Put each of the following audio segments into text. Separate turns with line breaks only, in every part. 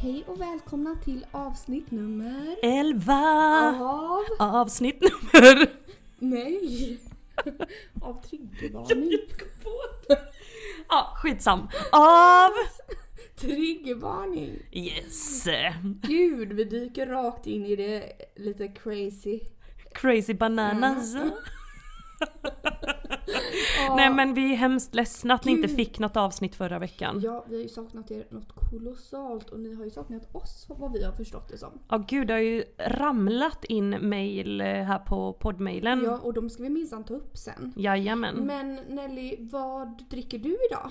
Hej och välkomna till avsnitt nummer...
11!
Av...
Avsnitt nummer...
Nej! Av triggervarning.
Ja, skitsam. Av...
Triggervarning!
Yes!
Gud, vi dyker rakt in i det lite crazy.
Crazy bananas.
Mm. Ja,
Nej men vi är hemskt ledsna att ni inte
Gud.
fick något avsnitt förra veckan.
Ja, vi har ju saknat er något kolossalt och ni har ju saknat oss vad vi har förstått det som.
Ja gud det har ju ramlat in mail eh, här på poddmailen.
Ja, och de ska vi minsann ta upp sen.
Jajamän.
Men Nelly, vad dricker du idag?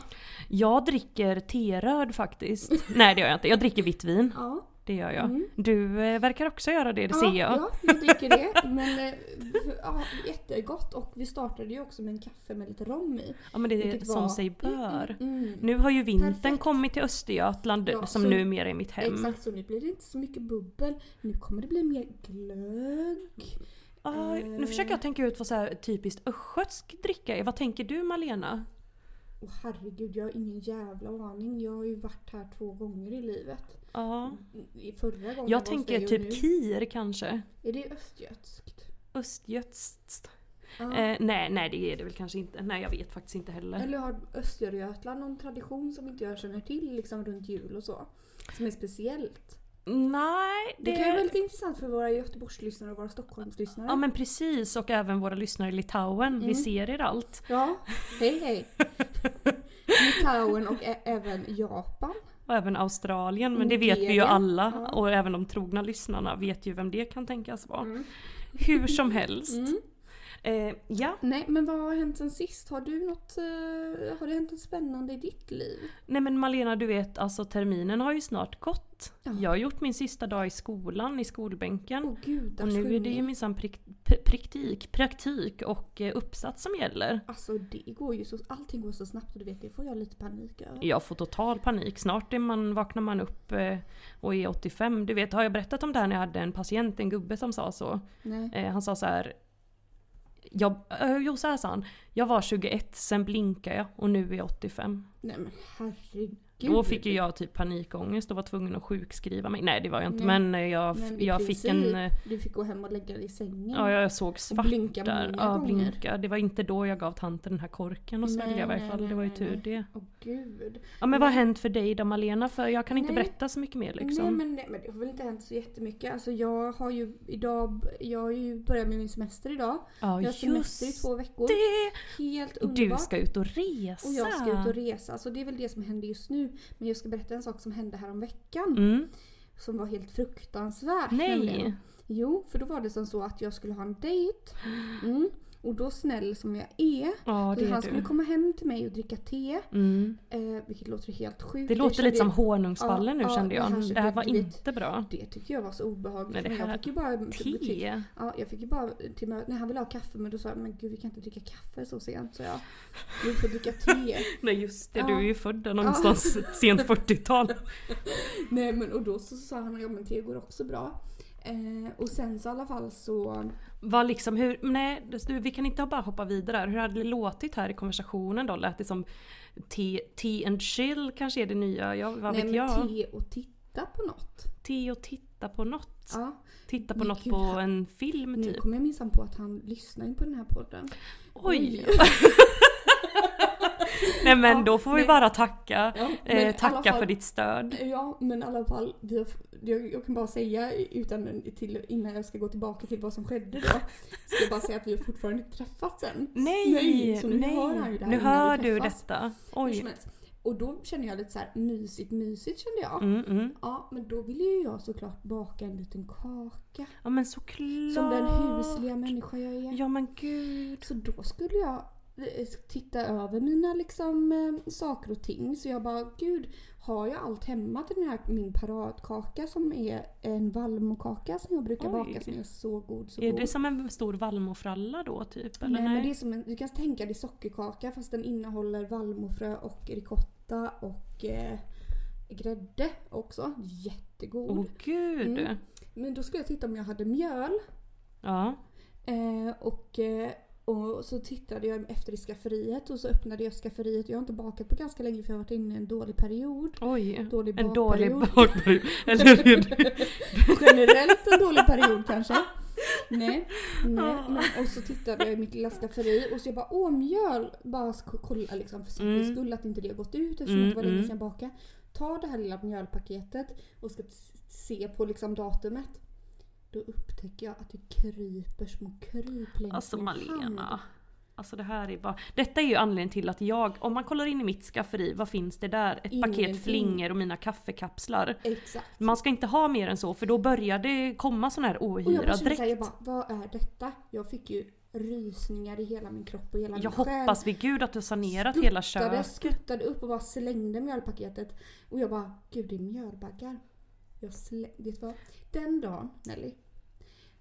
Jag dricker teröd faktiskt. Nej det gör jag inte, jag dricker vitt vin.
Ja,
Det gör jag.
Mm.
Du eh, verkar också göra det, det ser jag.
Ja, jag dricker det. Men eh, för- ja, jättegott och vi startade ju också med en kaffe med lite rom i.
Ja men det är
Vilket
som
var-
sig bör.
Mm.
Nu har ju vintern
Perfekt.
kommit till Östergötland
Ja,
som
så-
numera är mitt hem.
Exakt så, nu blir det inte så mycket bubbel. Nu kommer det bli mer glögg.
Aj, Ah, nu försöker jag tänka ut vad så här typiskt östgötsk dricka är. Vad tänker du Malena?
Och herregud, jag har ingen jävla aning. Jag har ju varit här två gånger i livet.
Ja.
I förra gången var
Jag
hos
tänker
dig och
typ
nu.
kir kanske.
Är det östgötskt?
Östgötskt.
Ja.
Eh, nej, nej det är det väl kanske inte. Nej jag vet faktiskt inte heller.
Eller har Östergötland någon tradition som inte jag känner till liksom runt jul och så? Som är speciellt?
Nej,
Det,
det...
kan ju vara lite intressant för våra Göteborgslyssnare och våra Stockholmslyssnare.
Ja men precis och även våra lyssnare i Litauen.
Mm.
Vi ser er allt.
ja. hej hej! Litauen och ä- även Japan.
Och även Australien. Men det
Nigeria.
vet vi ju alla.
Ja.
Och även de trogna lyssnarna vet ju vem det kan tänkas vara.
Mm.
Hur som helst.
Mm.
Eh, ja,
Nej, men vad har hänt sen sist? Har du något, eh, har det hänt något spännande i ditt liv?
nej men Malena du vet alltså terminen har ju snart gått.
Ja.
Jag har gjort min sista dag i skolan, i skolbänken.
Åh gud,
Mm. och nu är det ju minsann prik, p- praktik, praktik och eh, uppsats som gäller.
Alltså det går ju så, allting går så snabbt och du vet det får jag lite panik över.
Jag får total panik. Snart är man, vaknar man upp eh, och är 85. Du vet, har jag berättat om det här när jag hade en patient, en gubbe som sa så?
Nej.
Eh, han sa så här. Jag, eh, jo så här sa han. Jag var 21, sen blinkade jag och nu är jag 85.
Nej men herregud.
Då fick ju jag typ panikångest och var tvungen att sjukskriva mig. Nej det var jag inte
Nej.
men eh, jag,
Men i
jag
princip,
fick en... eh,
Du fick gå hem och lägga dig i sängen.
Ja jag såg svart
blinka
där.
många
Ja,
gånger.
blinka. Det var inte då jag gav tanten den här korken och
Nej,
svälja i varje
nej,
fall.
nej,
Det var ju
nej,
tur
nej.
det.
Åh gud.
Ja men vad har hänt för dig då Malena? För jag kan inte
Nej.
berätta så mycket mer liksom.
Nej, men, nej men det har väl inte hänt så jättemycket. Alltså jag har ju idag, jag har ju börjat med min semester idag.
ja
jag har semester i
just
två veckor.
det!
Helt
Och
underbart.
du ska ut och resa.
Och jag ska ut och resa, så det är väl det som händer just nu. Men jag ska berätta en sak som hände här om veckan
mm.
som var helt fruktansvärt. Äh, nämligen.
Nej!
Jo, för då var det som så att jag skulle ha en dejt. Mm. Och då snäll som jag är,
Ja det
så
är
han skulle
du.
komma hem till mig och dricka te.
Mm.
Eh, vilket låter helt sjukt.
Det låter
kände
lite som
jag-
honungsfallen nu
ja,
kände
det här
jag.
kände
Det här
jag
var
väldigt-
inte bra.
Det tyckte jag var så obehagligt.
Nej, det
men jag
här-
fick ju bara till,
Te.
ja, jag fick ju bara till mig, när han ville ha kaffe men då sa jag men gud vi kan inte dricka kaffe så sent så jag. Vi får dricka te.
Nej just det,
Ja.
du är ju född där någonstans sent 40-tal.
Nej men och då så sa han ja men det går också bra. Eh, och sen så i alla fall så...
Var liksom hur, nej du, vi kan inte bara hoppa vidare här. Hur hade det låtit här i konversationen då? Lät det som te, tea and chill kanske är det nya? Ja, vad
nej
vet
men
jag? Te.
te och titta på något.
och titta på något.
Ja,
Titta på
men
något
gud,
på
han-
en film
nu
typ.
kommer jag minsann på att han lyssnar ju på den här podden.
Oj!
Oj.
nej men
Ja,
då får vi
nej.
bara tacka.
Ja, men i
Eh,
alla
tacka
fall-
för ditt stöd.
Ja, men i alla fall. Vi har, jag, jag kan bara säga utan, till, innan jag ska gå tillbaka till vad som skedde då. Ska jag bara säga att vi har fortfarande inte träffats än.
Nej!
Nej, så nu
nej.
hör han ju det här
nu
innan vi
hör du
träffas.
detta.
Hur som
Oj.
helst. Och då känner jag lite så här mysigt, mysigt kände jag.
Mm, mm.
Ja, men då ville ju jag såklart baka en liten kaka.
Ja men såklart.
Som den husliga människa jag är.
Ja men gud.
Så då skulle jag eh, titta över mina liksom, eh, saker och ting. Så jag bara, gud, har jag allt hemma till den här, min paradkaka som är en vallmokaka som jag brukar
Oj.
baka som är så god, så
Är
god.
det som en stor vallmofralla då typ? Eller
Nej,
nej?
men det är som en, du kan tänka dig sockerkaka fast den innehåller vallmofrö och ricotta och eh, grädde också. Jättegod.
Åh gud!
Mm. Men då skulle jag titta om jag hade mjöl.
Ja.
Eh, och, eh, och så tittade jag efter i skafferiet och så öppnade jag skafferiet. Jag har inte bakat på ganska länge för jag har varit inne i en dålig period.
Oj.
Dålig
En dålig
bakperiod.
bakperiod. Eller hur?
Generellt en dålig period kanske. Nej. nej.
Ah.
Men, och så tittade jag i mitt lilla skafferi och så jag bara åh mjöl. Bara sk- kolla liksom för säkerhets
Mm.
skull att inte det har gått ut eftersom
Mm,
det var länge
mm.
sedan jag bakade. Ta det här lilla mjölpaketet och ska t- se på liksom datumet. Då upptäcker jag att det kryper små kryp längs
Alltså
min hand.
Malena. Alltså det här är bara... Detta är ju anledningen till att jag, om man kollar in i mitt skafferi, vad finns det där? Ett
Ingenting.
paket flingor och mina kaffekapslar.
Exakt.
Man ska inte ha mer än så för då börjar det komma sån här
och jag bara
ohyra
kände
direkt.
såhär, jag bara vad är detta? Jag fick ju rysningar i hela min kropp och hela
Jag
min själ.
hoppas vid gud att du har sanerat hela
skuttade,
köket.
skuttade upp och bara slängde mjölpaketet. Och jag bara, gud det är mjölbaggar. Jag släng, vet du vad? Den dagen Nelly,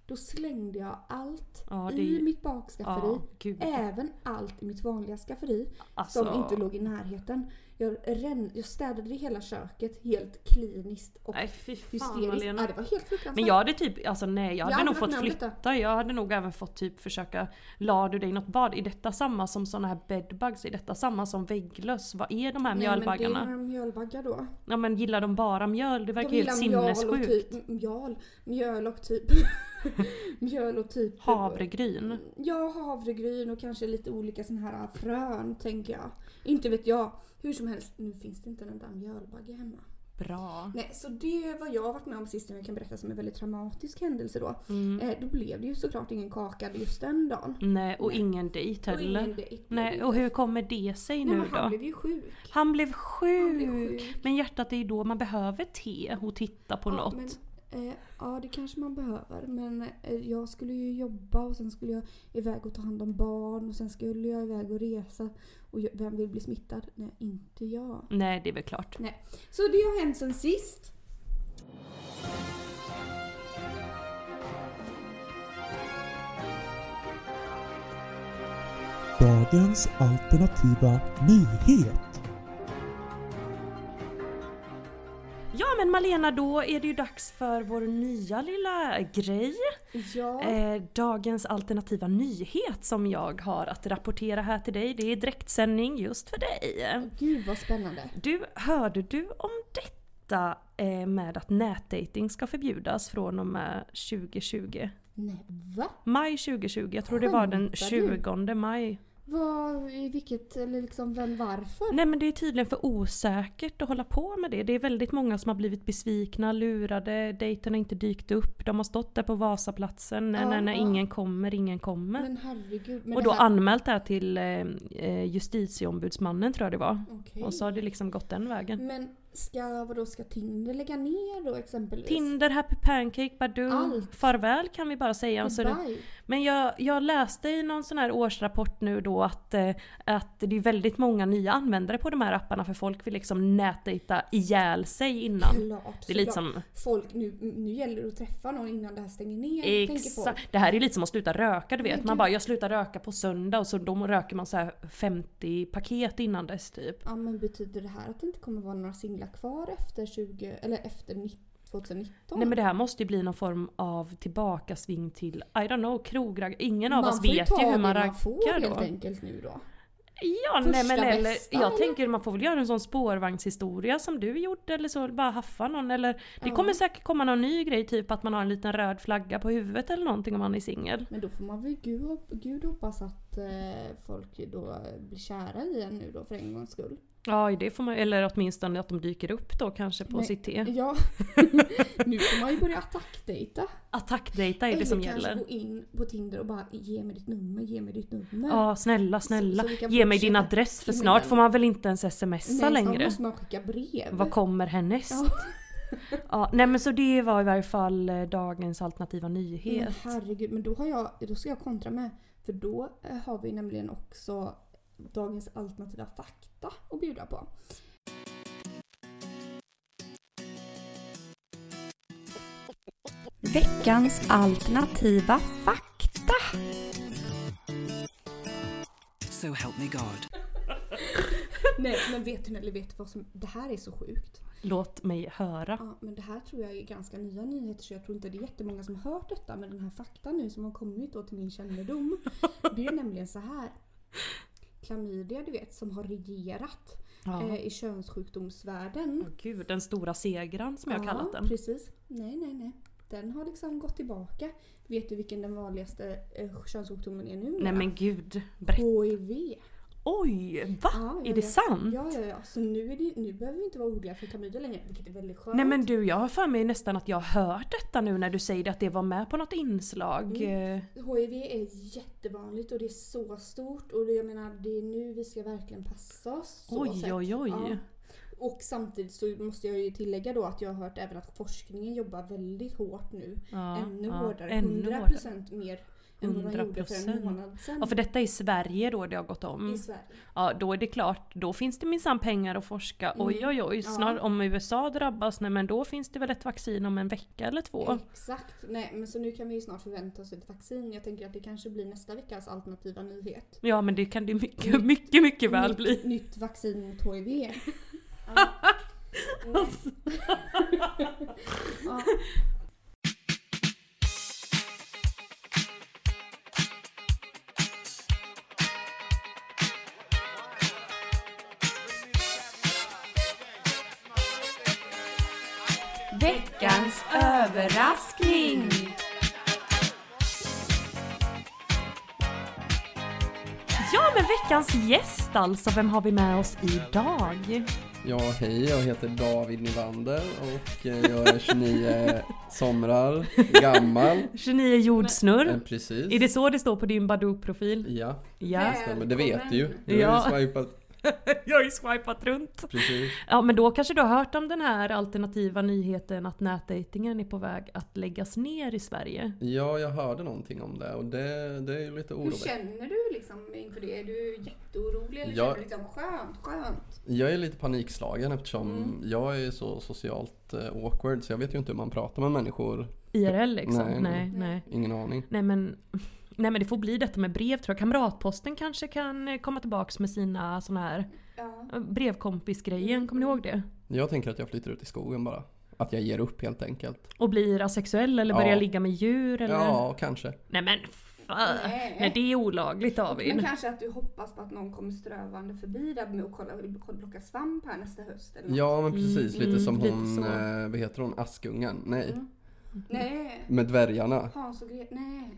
då slängde jag allt
Ja, det
i
är-
mitt bakskafferi.
Ja, gud.
Även allt i mitt vanliga skafferi
Alltså,
som inte låg i närheten. Jag, rän, jag städade hela köket helt kliniskt och
Nej fy fan
hysteriskt.
Malena.
Ja, det var helt fruktansvärt.
Men jag hade typ, alltså nej jag hade
hade
nog
varit
fått
med om detta.
flytta. Jag hade nog även fått typ försöka, la du dig i något bad? Är detta samma som såna här bedbugs? Är detta samma som vägglöss? Vad är de här mjölbaggarna?
Nej, men det är några mjölbaggar då.
Ja men gillar de bara mjöl? Det verkar
De
ju helt
gillar mjöl och
sinnessjukt.
Typ, mjöl, mjöl och typ... mjöl och typ...
Havregryn.
Ja, havregryn och kanske lite olika sån här frön tänker jag. Inte vet jag. Hur som helst, nu finns det inte en enda mjölbagge hemma.
Bra.
Nej, så det var jag har varit med om sist som jag kan berätta som en väldigt traumatisk händelse då. Eh, då blev det ju såklart ingen kaka just den dagen.
Mm. Nej och ingen dejt
Och ingen
heller.
dejt.
Nej och hur kommer det sig
Nej,
nu
men han
då?
blev ju sjuk.
Han blev sjuk!
Han blev sjuk.
Men hjärtat det är ju då man behöver te och titta på något.
Men, eh, ja, det kanske man behöver. Men eh, jag skulle ju jobba och sen skulle jag iväg och ta hand om barn och sen skulle jag iväg och resa. Och jag, vem vill bli smittad? Nej, inte jag.
Nej det är väl klart.
Nej. Så det har hänt sen sist.
Dagens alternativa nyhet.
Ja men Malena då är det ju dags för vår nya lilla grej.
Ja.
Eh, dagens alternativa nyhet som jag har att rapportera här till dig. Det är direktsändning just för dig.
Gud vad spännande.
Du, hörde du om detta eh, med att nätdating ska förbjudas från och med 2020?
Nej, va?
Maj 2020, jag tror det var den
Skämtar du?
20 maj.
Vad, i vilket, eller liksom vem, varför?
Nej men det är tydligen för osäkert att hålla på med det. Det är väldigt många som har blivit besvikna, lurade, dejten har inte dykt upp, de har stått där på Vasaplatsen, nej
Ja,
nej nej
ja.
ingen kommer, ingen kommer.
Men herregud. Men
och då
det här...
anmält det här till eh, eh, justitieombudsmannen tror jag det var.
Okej.
Och så har det liksom gått den vägen.
Men ska, vadå, ska Tinder lägga ner då exempelvis?
Tinder, Happy Pancake, Badoo.
Allt.
Farväl kan vi bara säga. Alltså, det-
Goodbye.
men jag, jag läste i någon sån här årsrapport nu då att, eh, att det är väldigt många nya användare på de här apparna för folk vill liksom nätdejta ihjäl sig innan.
Klart,
Det är lite
såklart.
som,
folk, nu, nu gäller det att träffa någon innan det här stänger ner. tänker folk.
exakt, det här är ju lite som att sluta röka du vet.
Men
Man
gud.
bara jag slutar röka på söndag och så då röker man så här 50 paket innan dess typ.
Ja men betyder det här att det inte kommer vara några singlar kvar efter 20, eller efter ni- 2019?
Nej men det här måste ju bli någon form av tillbakasving till, I don't know, krograg. Ingen av oss
får
vet ju
ta
hur
det
man
man får
raggar
helt
då.
enkelt nu då.
Ja,
Första
nej, men eller,
bästa,
jag
eller?
tänker man får väl göra en sån spårvagnshistoria som du gjorde eller så, bara haffa någon eller Det
Ja.
kommer säkert komma någon ny grej, typ att man har en liten röd flagga på huvudet eller någonting om man är singel.
Men då får man väl gud, hop- gud hoppas att eh, folk då eh, blir kära i en nu då för en gångs skull.
Ja, det får man eller åtminstone att de dyker upp då kanske på
Men-
sitt te.
Ja, nu får man ju börja attackdejta.
Attackdejta är det
eller
som
kanske
gäller.
gå in på Tinder och bara ge mig ditt nummer, ge mig ditt nummer.
Ja, snälla, snälla.
så vi kan
Ge mig din
fortsätta.
adress för
Ge mig
snart
den.
får man väl inte ens smsa
Nej, snart
längre.
måste man skicka brev.
Vad kommer härnäst?
Ja.
Ja, nej men så det var i varje fall eh, dagens alternativa nyhet.
Mm, Men herregud, men då, har jag, då ska jag kontra med. För då eh, har vi nämligen också dagens alternativa fakta att bjuda på.
Veckans alternativa fakta.
So help me God.
Nej men vet du Nelly, vet du vad som... Det här är så sjukt.
Låt mig höra.
Ja, men det här tror jag är ganska nya nyheter så jag tror inte det är jättemånga som har hört detta. Men den här faktan nu som har kommit då till min kännedom. Det är nämligen så här. Klamydia du vet som har regerat
Ja.
eh, i könssjukdomsvärlden.
Åh Gud, den stora segran som jag
Ja,
kallat den.
Precis. Nej nej nej. Den har liksom gått tillbaka. Vet du vilken den vanligaste eh, könssjukdomen är nu?
Nej men gud, berätta.
HIV.
Oj, va?
Ja, jag
är det
vet.
sant?
Ja, ja, ja. Så nu, är det, nu behöver vi inte vara oroliga för klamydia längre, vilket är väldigt skönt.
Nej men du, jag har för mig nästan att jag har hört detta nu när du säger det, att det var med på något inslag.
Mm.
Eh,
HIV är jättevanligt och det är så stort och det, jag menar det är nu vi ska verkligen passa oss. så
Oj,
sett.
oj, oj.
Ja. Och samtidigt så måste jag ju tillägga då att jag har hört även att forskningen jobbar väldigt hårt nu.
Ja,
ännu
ja,
hårdare.
ännu
100%
hårdare.
mer än vad de gjorde för
100%.
en månad sedan.
Ja för detta är i Sverige då det mm. har gått om.
I Sverige.
Ja då är det klart, då finns det minsann pengar att forska. Oj oj oj, snar, om USA drabbas, nej men då finns det väl ett vaccin om en vecka eller två.
Mm. Exakt. Nej men så nu kan vi ju snart förvänta oss ett vaccin. Jag tänker att det kanske blir nästa veckas alternativa nyhet.
Ja men det kan det ju mycket, mycket, mycket väl
nytt,
bli.
nytt vaccin mot HIV. Ja. ja.
Veckans överraskning.
Ja men veckans gäst alltså, vem har vi med oss idag?
Ja, hej, jag heter David Nivander och eh, jag är 29 somrar gammal.
29 jordsnurr.
Eh, Precis.
Är det så det står på din Badoo-profil?
Ja,
Ja.
stämmer. Det vet du ju. Du
Ja.
har ju swipat.
Jag har ju swipat runt.
Precis.
Ja men då kanske du har hört om den här alternativa nyheten att nätdejtingen är på väg att läggas ner i Sverige.
Ja, jag hörde någonting om det och det, det är ju lite
Hur
oroväckande.
känner du liksom inför det? Är du jätteorolig eller
Ja.
känner du liksom skönt, skönt?
Jag är lite panikslagen eftersom
Mm.
jag är så socialt eh, awkward så jag vet ju inte hur man pratar med människor.
IRL liksom? Nej,
Nej,
nej.
nej.
Nej,
Ingen aning.
men... Nej men det får bli detta med brev tror jag. Kamratposten kanske kan eh, komma tillbaks med sina såna här
Ja.
eh, brevkompisgrejen, kommer ni ihåg det?
Jag tänker att jag flyttar ut i skogen bara. Att jag ger upp helt enkelt.
Och blir asexuell eller
Ja.
börjar ligga med djur eller?
Ja, kanske.
Nej men fan. Nej.
Nej.
det är olagligt
Men
David.
kanske att du hoppas på att någon kommer strövande förbi där med att kolla, plocka svamp här nästa höst eller något.
Ja, men precis.
Mm,
Lite som
lite
hon,
så.
eh, vad heter hon, Askungen? Nej.
Nej,
Med dvärgarna.
Hans och Greta, nej.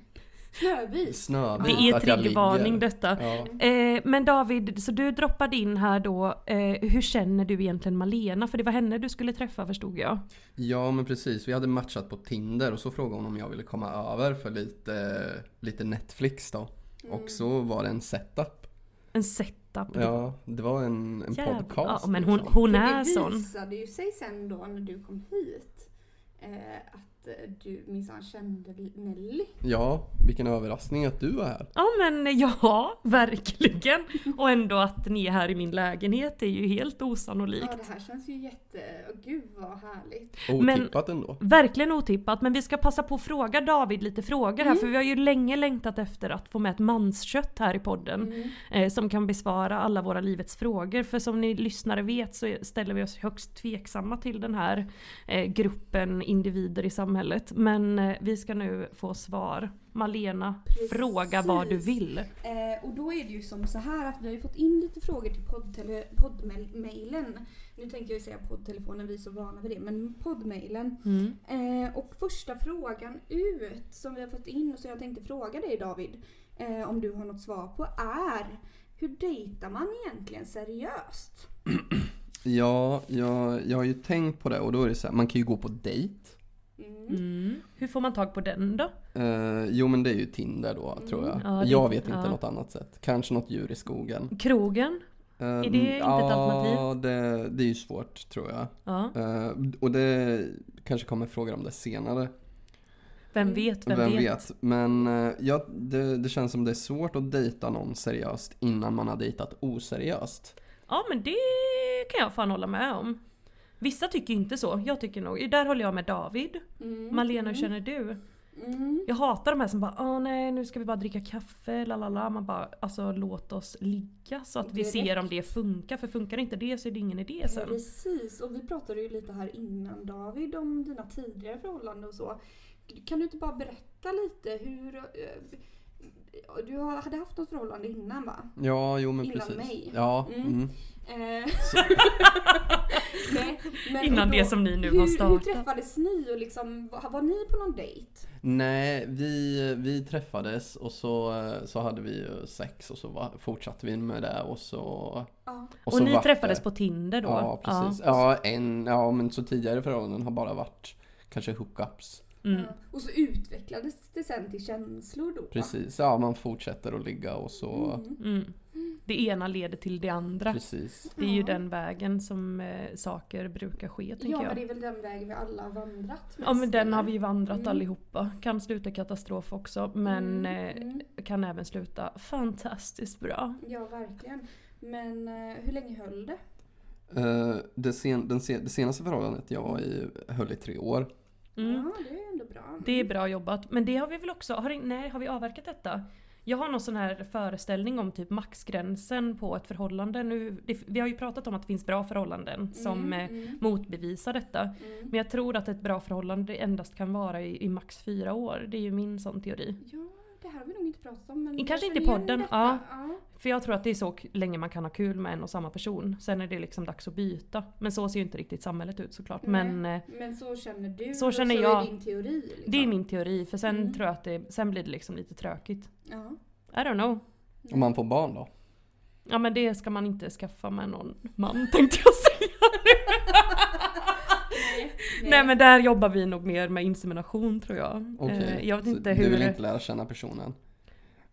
Snövit.
Snövit.
Det är
att jag
triggervarning
ligger.
detta.
Ja.
Eh, men David, så du droppade in här då. Eh, hur känner du egentligen Malena? För det var henne du skulle träffa förstod jag.
ja men precis, vi hade matchat på Tinder och så frågade hon om jag ville komma över för lite, lite Netflix då.
Mm.
Och så var det en setup.
En setup.
Ja, det var en, en
Jävlar.
podcast.
Ja, men hon,
liksom.
hon
För
är
Det
sån.
visade ju sig sen då när du kom hit eh, att eh, du minsann kände Nelly.
Ja, vilken överraskning att du var här.
Ja men ja, verkligen. Och ändå att ni är här i min lägenhet är ju helt osannolikt.
Ja det här känns ju jätte... åh, gud vad härligt.
Men-
Otippat ändå.
Verkligen otippat, men vi ska passa på att fråga David lite frågor
Mm.
här för vi har ju länge längtat efter att få med ett manskött här i podden.
Mm.
Eh, som kan besvara alla våra livets frågor. För som ni lyssnare vet så ställer vi oss högst tveksamma till den här eh, gruppen individer i samhället. Men eh, vi ska nu få svar. Malena,
Precis.
fråga vad du vill.
Eh, och då är det ju som så här att vi har ju fått in lite frågor till poddtele- poddmailen. Nu tänkte jag ju säga poddtelefonen, vi är så vana vid det. Men poddmailen.
Mm.
Eh, och första frågan ut som vi har fått in och som jag tänkte fråga dig David. Eh, om du har något svar på är hur dejtar man egentligen seriöst?
Ja, jag, jag har ju tänkt på det och då är det så här, man kan ju gå på dejt.
Mm.
Mm. Hur får man tag på den då?
Eh, jo men det är ju Tinder då tror jag.
Mm. Ja, det-
jag vet inte
ja.
något annat sätt. Kanske något djur i skogen.
Krogen?
är
det inte ett alternativ?
Ehm, Det, det är ju svårt tror jag. Ehm,
Ja.
Eh, och det kanske kommer frågor om det senare.
Mm.
Vem vet, vem,
Vem vet. Men eh, ja, det, det känns som det är svårt att dejta någon seriöst innan man har dejtat oseriöst.
Ja men det kan jag fan hålla med om. Vissa tycker inte så. Jag tycker nog, där håller jag med David.
Mm.
Malena, hur känner du? Jag hatar de här som bara åh nej nu ska vi bara dricka kaffe, la la la. Man bara alltså låt oss ligga så att vi
Direkt.
ser om det funkar. För funkar inte det så är det ingen idé sen.
Precis, och vi pratade ju lite här innan David om dina tidigare förhållanden och så. Kan du inte bara berätta lite hur... eh, Du har- hade haft något förhållande innan va?
Ja, jo men
Innan
precis.
mig.
Ja,
Mm.
mm.
Eh, Nej, men
Innan
och
det som ni nu
hur,
har startat.
Hur träffades ni och liksom, var, var ni på någon dejt?
Nej, vi, vi träffades och så, eh, så hade vi ju sex och så va, fortsatte vi med det och så...
Ja.
Och,
så
ni
vart det-
träffades på Tinder då?
Ja, precis. Ja. en, ja, men så tidigare förhållanden har bara varit kanske hookups.
Ja. Mm.
Ja. Och så utvecklades det sen till känslor då va?
Precis, ja man fortsätter att ligga och så...
Mm. Det ena leder till det andra.
Precis.
Det är ju den vägen som eh, saker brukar ske tänker
Ja
jag.
men det är väl den vägen vi alla har vandrat
Ja men
mest,
den har
eller?
vi ju vandrat
Mm.
allihopa. Kan sluta katastrof också men eh,
Mm.
kan även sluta fantastiskt bra.
Ja verkligen. Men eh, hur länge höll det?
Eh, det, sen, den se, det senaste förhållandet jag var i höll i tre år.
Mm.
Ja det är ändå bra.
Det är bra jobbat. Men det har vi väl också, har, det- nej har vi avverkat detta? Jag har någon sån här föreställning om typ maxgränsen på ett förhållande. Nu, det, vi har ju pratat om att det finns bra förhållanden
Mm.
som eh, motbevisar detta. Men jag tror att ett bra förhållande endast kan vara i, i max fyra år. Det är ju min sån teori.
Ja det här har vi nog inte pratat om men... vi
Kanske inte i
känner igen
podden,
detta.
ja.
ja.
För jag tror att det är så k- länge man kan ha kul med en och samma person. Sen är det liksom dags att byta. Men så ser ju inte riktigt samhället ut såklart.
Nej.
Men eh,
Men så känner du
Så
och
känner
så
jag.
är din teori. Liksom.
det är min teori. För sen
Mm.
tror jag att det, sen blir det liksom lite trökigt.
Ja.
I don't know.
Om man får barn då?
Ja men det ska man inte skaffa med någon man tänkte jag säga. Nej. men där jobbar vi nog mer med insemination tror jag.
Okej.
Eh, Jag vet
Så
inte
Du
hur...
vill inte lära känna personen?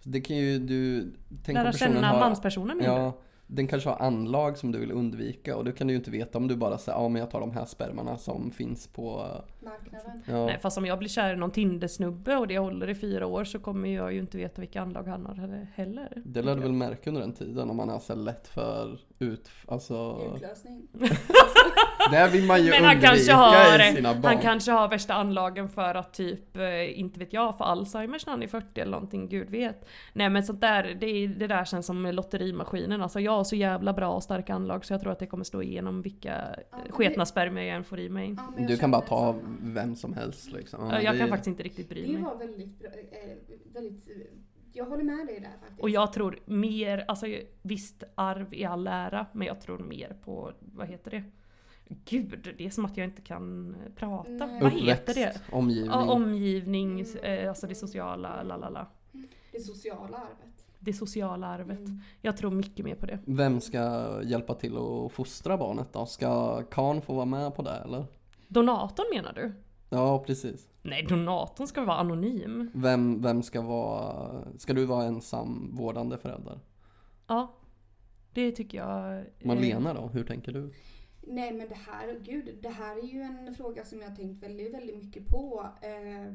Så Det kan ju du... Tänk om
lära
personen
känna
har,
manspersonen menar du?
Ja, den kanske har anlag som du vill undvika och då kan du ju inte veta om du bara säger ja men jag tar de här spermarna som finns på...
Marknaden.
Ja,
Nej fast om jag blir kär i någon Tinder-snubbe och det håller i fyra år så kommer jag ju inte veta vilka anlag han har heller.
det lär du väl märka under den tiden om man är så lätt för ut... Alltså...
Utlösning.
Det vill man ju
Men han kanske,
undvika i
har,
sina barn.
han kanske har värsta anlagen för att typ, eh, inte vet jag, få Alzheimers när han är 40 eller någonting, gud vet. Nej men sånt där, det, är- det där känns som lotterimaskinen. Alltså jag har så jävla bra och starka anlag så jag tror att det kommer slå igenom vilka
Ja, det-
sketna spermier jag än får i mig.
Ja, men jag
Du kan
känner
bara ta
samma.
vem som helst liksom. Ja,
Eh,
men
Jag
det
kan
är-
faktiskt inte riktigt bry
Det
mig.
var väldigt bra. Eh, väldigt, eh, jag håller med dig där faktiskt.
Och jag tror mer, alltså visst arv i all ära, men jag tror mer på, vad heter det? Gud, det är som att jag inte kan eh, prata.
Nej.
Vad heter det?
Uppväxt, omgivning.
Ja, omgivning,
Mm.
eh, alltså det sociala, la la la.
Det sociala arvet.
Det sociala arvet.
Mm.
Jag tror mycket mer på det.
Vem ska hjälpa till att fostra barnet då? Ska Karn få vara med på det eller?
Donatorn menar du?
Ja, precis.
Nej, donatorn ska vara anonym.
Vem, vem ska vara... Ska du vara ensam vårdande förälder?
Ja. Det tycker jag... eh,
Malena då, hur tänker du?
Nej men det här, oh, gud, det här är ju en fråga som jag har tänkt väldigt, väldigt mycket på. Eh,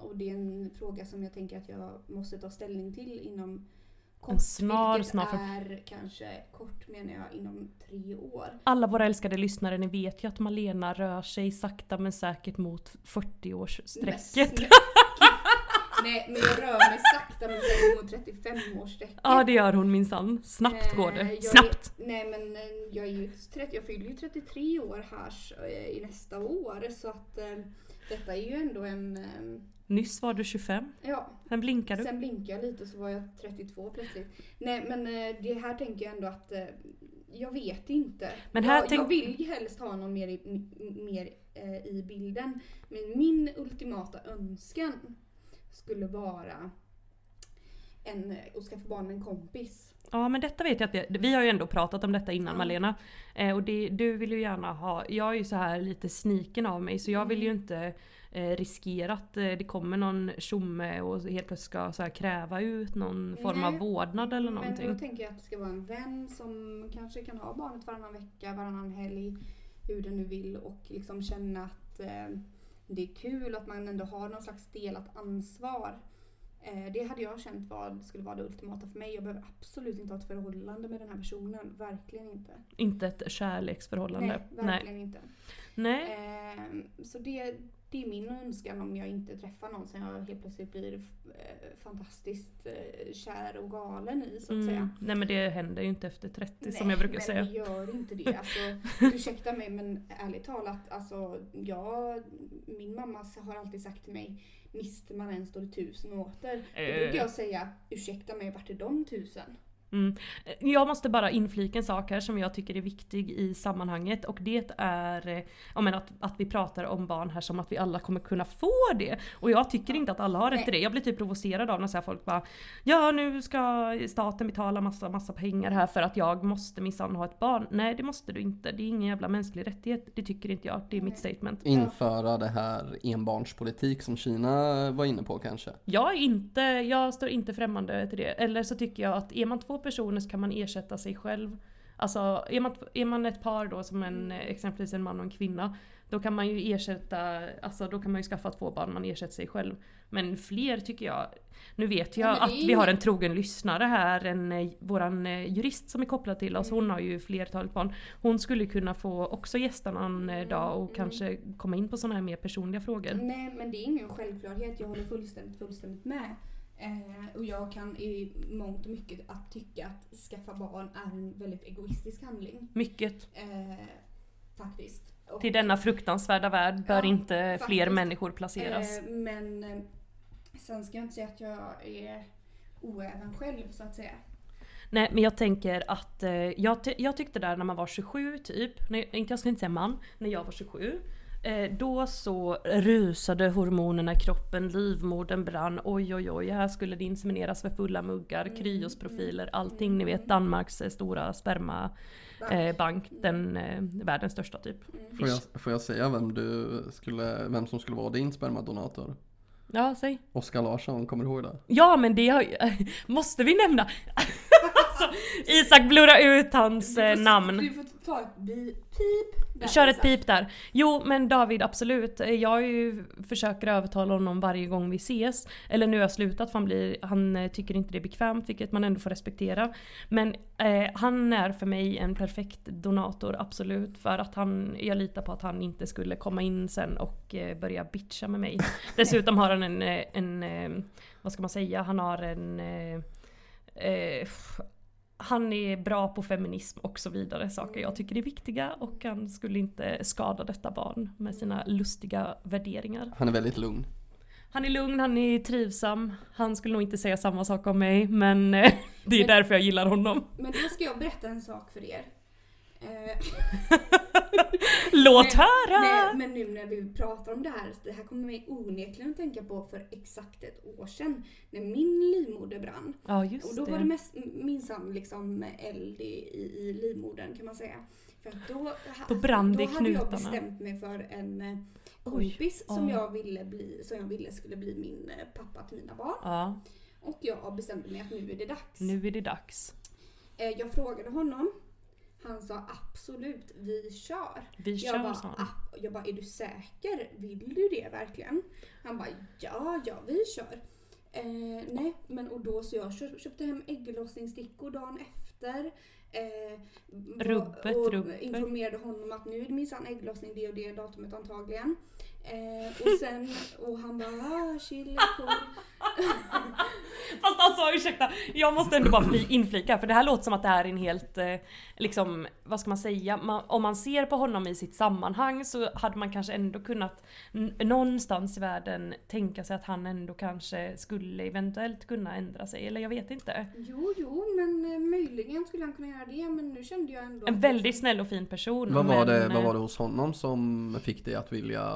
och det är en fråga som jag tänker att jag måste ta ställning till inom kort.
snar,
vilket
snar fram-
är kanske kort menar jag inom tre år.
Alla våra älskade lyssnare, ni vet ju att Malena rör sig sakta men säkert mot 40-årsstrecket.
Men- Nej men jag rör mig sakta men säkert mot 35 års
Ja det gör hon minsann. Snabbt går
Eh,
det.
jag
Snabbt!
Är, nej men eh, jag, är ju 30, jag fyller ju 33 år här s- eh, i nästa år så att eh, detta är ju ändå en... eh,
Nyss var du 25,
Ja,
sen blinkar du.
sen blinkade jag lite så var jag 32 plötsligt. Nej men eh, det här tänker jag ändå att eh, jag vet inte.
Men här
jag,
tänk-
jag vill ju helst ha någon mer, i, m- m- mer eh, i bilden. Men min ultimata önskan skulle vara en, eh, att skaffa barn med en kompis.
Ja men detta vet jag att vi, vi har ju ändå pratat om detta innan
Ja.
Malena. Eh, och det, du vill ju gärna ha, jag är ju så här lite sniken av mig så jag vill
Mm.
ju inte eh, riskera att eh, det kommer någon tjomme och helt plötsligt ska så här, kräva ut någon form av
Nej. Mm,
vårdnad eller
Men
någonting.
då tänker jag att det ska vara en vän som kanske kan ha barnet varannan vecka, varannan helg, hur den nu vill och liksom känna att eh, det är kul att man ändå har någon slags delat ansvar. Eh, Det hade jag känt var, skulle vara det ultimata för mig. Jag behöver absolut inte ha ett förhållande med den här personen. Verkligen inte.
Inte ett kärleksförhållande.
Nej, verkligen inte.
Nej.
Eh, Så det, det är min önskan om jag inte träffar någon som jag helt plötsligt blir eh, fantastiskt eh, kär och galen i så att
Mm.
säga.
Nej men det händer ju inte efter 30 som
Nej,
jag brukar
men
säga.
det gör inte det. Alltså, ursäkta mig men ärligt talat, alltså, jag, min mamma har alltid sagt till mig Mister man en står det tusen åter. Då
Eh.
brukar jag säga ursäkta mig vart är de tusen?
Mm. Jag måste bara inflika en sak här som jag tycker är viktig i sammanhanget och det är eh, ja, men att, att vi pratar om barn här som att vi alla kommer kunna få det. Och jag tycker inte att alla har rätt till det. Jag blir typ provocerad av när så här folk bara Ja nu ska staten betala massa, massa pengar här för att jag måste minsann ha ett barn. Nej det måste du inte. Det är ingen jävla mänsklig rättighet. Det tycker inte jag. Det är mitt statement.
Införa det här enbarnspolitik som Kina var inne på kanske.
Jag, är inte, jag står inte främmande till det. Eller så tycker jag att är man två personer så kan man ersätta sig själv. Alltså är man, är man ett par då som en,
Mm.
exempelvis en man och en kvinna. Då kan man ju ersätta, alltså då kan man ju skaffa två barn, man ersätter sig själv. Men fler tycker jag, nu vet jag
Ja, men det
att
är
vi
ju-
har en trogen lyssnare här, en, eh, våran eh, jurist som är kopplad till oss,
Mm.
hon har ju flertalet barn. Hon skulle kunna få också gästa någon eh, dag och
Mm,
kanske komma in på sådana här mer personliga frågor.
Nej men det är ingen självklarhet, jag håller fullständigt, fullständigt med. Eh, och jag kan i mångt och mycket att tycka att skaffa barn är en väldigt egoistisk handling.
Mycket.
Eh, faktiskt. Och,
Till denna fruktansvärda värld bör
Ja,
inte fler
faktiskt.
människor placeras.
eh, men eh, sen ska jag inte säga att jag är oäven själv så att säga.
Nej men jag tänker att eh, jag, ty- jag tyckte där när man var 27 typ, nej, inte jag ska inte säga man, när jag var 27. Eh, då så rusade hormonerna i kroppen, livmodern brann, oj oj oj, här skulle det insemineras för fulla muggar,
Mm.
kryosprofiler, allting. Ni vet Danmarks eh, stora spermabank, eh, bank, den eh, världens största typ.
Mm.
Får jag, får jag säga vem, du skulle, vem som skulle vara din spermadonator?
Ja, säg.
Oskar Larsson, kommer du ihåg det?
Ja men det har, ju- måste vi nämna! alltså, Isak blurrar ut hans eh, namn.
Du får ta ett bi- pip. där,
Kör ett
Isak.
pip där. Jo men David absolut. Eh, Jag har ju försöker övertala honom varje gång vi ses. Eller nu har jag slutat för han, blir, han eh, tycker inte det är bekvämt vilket man ändå får respektera. Men eh, han är för mig en perfekt donator absolut. För att han, jag litar på att han inte skulle komma in sen och eh, börja bitcha med mig. Dessutom har han en, eh, en eh, vad ska man säga, han har en eh, eh, f- han är bra på feminism och så vidare, saker jag tycker är viktiga och han skulle inte skada detta barn med sina lustiga värderingar.
Han är väldigt lugn.
Han är lugn, han är trivsam, han skulle nog inte säga samma sak om mig men eh, det är därför jag gillar honom.
Men då ska jag berätta en sak för er. Eh,
Låt
nej,
höra!
men nu när vi pratar om det här, det här kommer mig onekligen att tänka på för exakt ett år sedan när min livmoder brann.
Ja
Och
just
då var det
det.
mest, minsann liksom eld i, i, i livmodern kan man säga. För att då,
Då brann det i
Då hade jag
knutarna.
bestämt mig för en eh,
Oj,
kompis som,
ja.
jag ville bli, som jag ville skulle bli min eh, pappa till mina barn.
Ja,
Och jag bestämde mig att nu är det dags.
nu är det dags.
Eh, Jag frågade honom. Han sa absolut, vi kör.
Vi
jag
kör,
bara,
sa han.
"Ah." jag bara, är du säker? Vill du det verkligen? Han bara, ja, ja, vi kör. Eh, nej, men och då så jag kö- köpte hem ägglossningsstickor dagen efter. Eh, var-
Rubbet,
och
rubbet.
informerade honom att nu är det minsann ägglossning det och det datumet antagligen. Eh, och sen, och han bara, ah, chill, cool.
Fast alltså ursäkta, jag måste ändå bara fli- inflika för det här låter som att det här är en helt, eh, liksom, vad ska man säga, man, om man ser på honom i sitt sammanhang så hade man kanske ändå kunnat n- någonstans i världen tänka sig att han ändå kanske skulle eventuellt kunna ändra sig, eller jag vet inte.
Jo, jo, men eh, möjligen skulle han kunna göra det. Men nu kände jag ändå...
En väldigt snäll och fin person.
Vad var,
men,
det, vad
eh,
var det hos honom som fick dig att vilja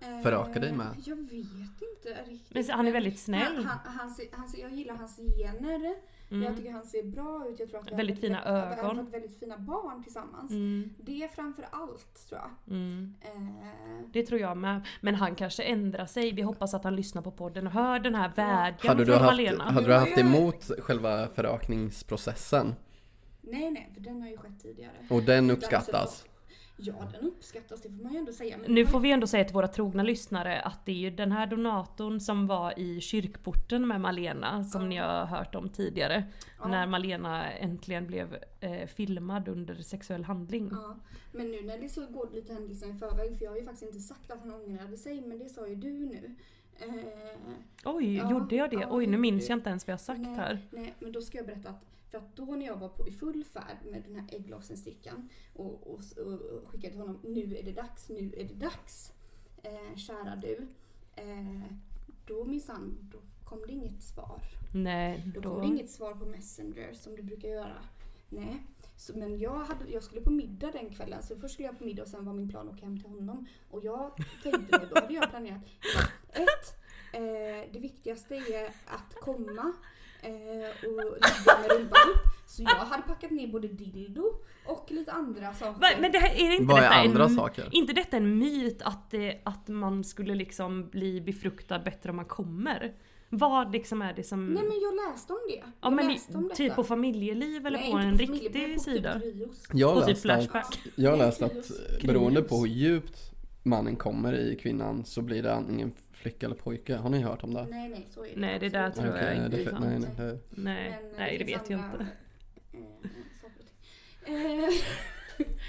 Eh,
föröka dig med?
Jag vet inte riktigt.
eh, Men han är väldigt snäll.
Han, han, han ser, han ser, jag gillar hans gener.
Mm.
Jag tycker han ser bra ut. Jag tror att vi har
Väldigt fina
vi har- vi har
ögon.
fått väldigt fina barn tillsammans.
Mm,
Det framför allt tror jag.
mm.
Eh,
Det tror jag med. Men han kanske ändrar sig. Vi hoppas att han lyssnar på podden och hör den här vädjan
Hade du,
från
haft,
Malena.
hade du haft emot själva förökningsprocessen?
nej, nej, för den har ju skett tidigare.
alltså,
Och den uppskattas?
Ja, den uppskattas, det får man ju ändå säga. Men
Nu får vi ändå säga till våra trogna lyssnare att det är ju den här donatorn som var i kyrkporten med Malena som ni har hört om tidigare.
Ja.
När Malena äntligen blev eh, filmad under sexuell handling.
Ja, men nu när det så går lite händelserna i förväg, för jag har ju faktiskt inte sagt att han ångrade sig, men det sa ju du nu. Eh,
Oj,
Ja,
gjorde jag det?
ja,
Oj, nu
gjorde
minns
du.
jag inte ens vad jag sagt
nej,
här.
Nej, men då ska jag berätta att för att då när jag var på, i full färd med den här ägglossningsstickan och, och, och, och skickade till honom nu är det dags, nu är det dags, eh, kära du. Eh, då minsann, då kom det inget svar.
Nej,
Då kom
då...
det inget svar på Messenger som du brukar göra. Nej. Så, men jag, hade, jag skulle på middag den kvällen, så först skulle jag på middag och sen var min plan att åka hem till honom. Och jag tänkte då, då hade jag planerat. Ett, eh, det viktigaste är att komma eh, och ligga med rumpan upp. Så jag hade packat ner både dildo och lite andra saker.
Va, men det här, är inte
Vad är
detta
andra
en,
saker?
Inte detta en myt att, det, att man skulle liksom bli befruktad bättre om man kommer? Vad liksom är det som...
Nej men jag läste om det.
ja,
jag
men
läste om detta.
typ på familjeliv eller
Nej,
på
inte
en
familje, men
riktig
på typ
sida?
Rios.
Jag
På
har
typ
läst att,
Flashback.
jag har
Nej,
läst att
Krillos.
beroende på hur djupt mannen kommer i kvinnan så blir det antingen flicka eller pojke. Har ni hört om det?
Nej nej, så är det
Nej, det där
absolut
tror
Okej,
jag inte
det,
är
för-
sant.
nej, nej, det,
Nej,
eh,
nej det
finns
vet jag
andra,
inte.
eh, saker och ting. Eh,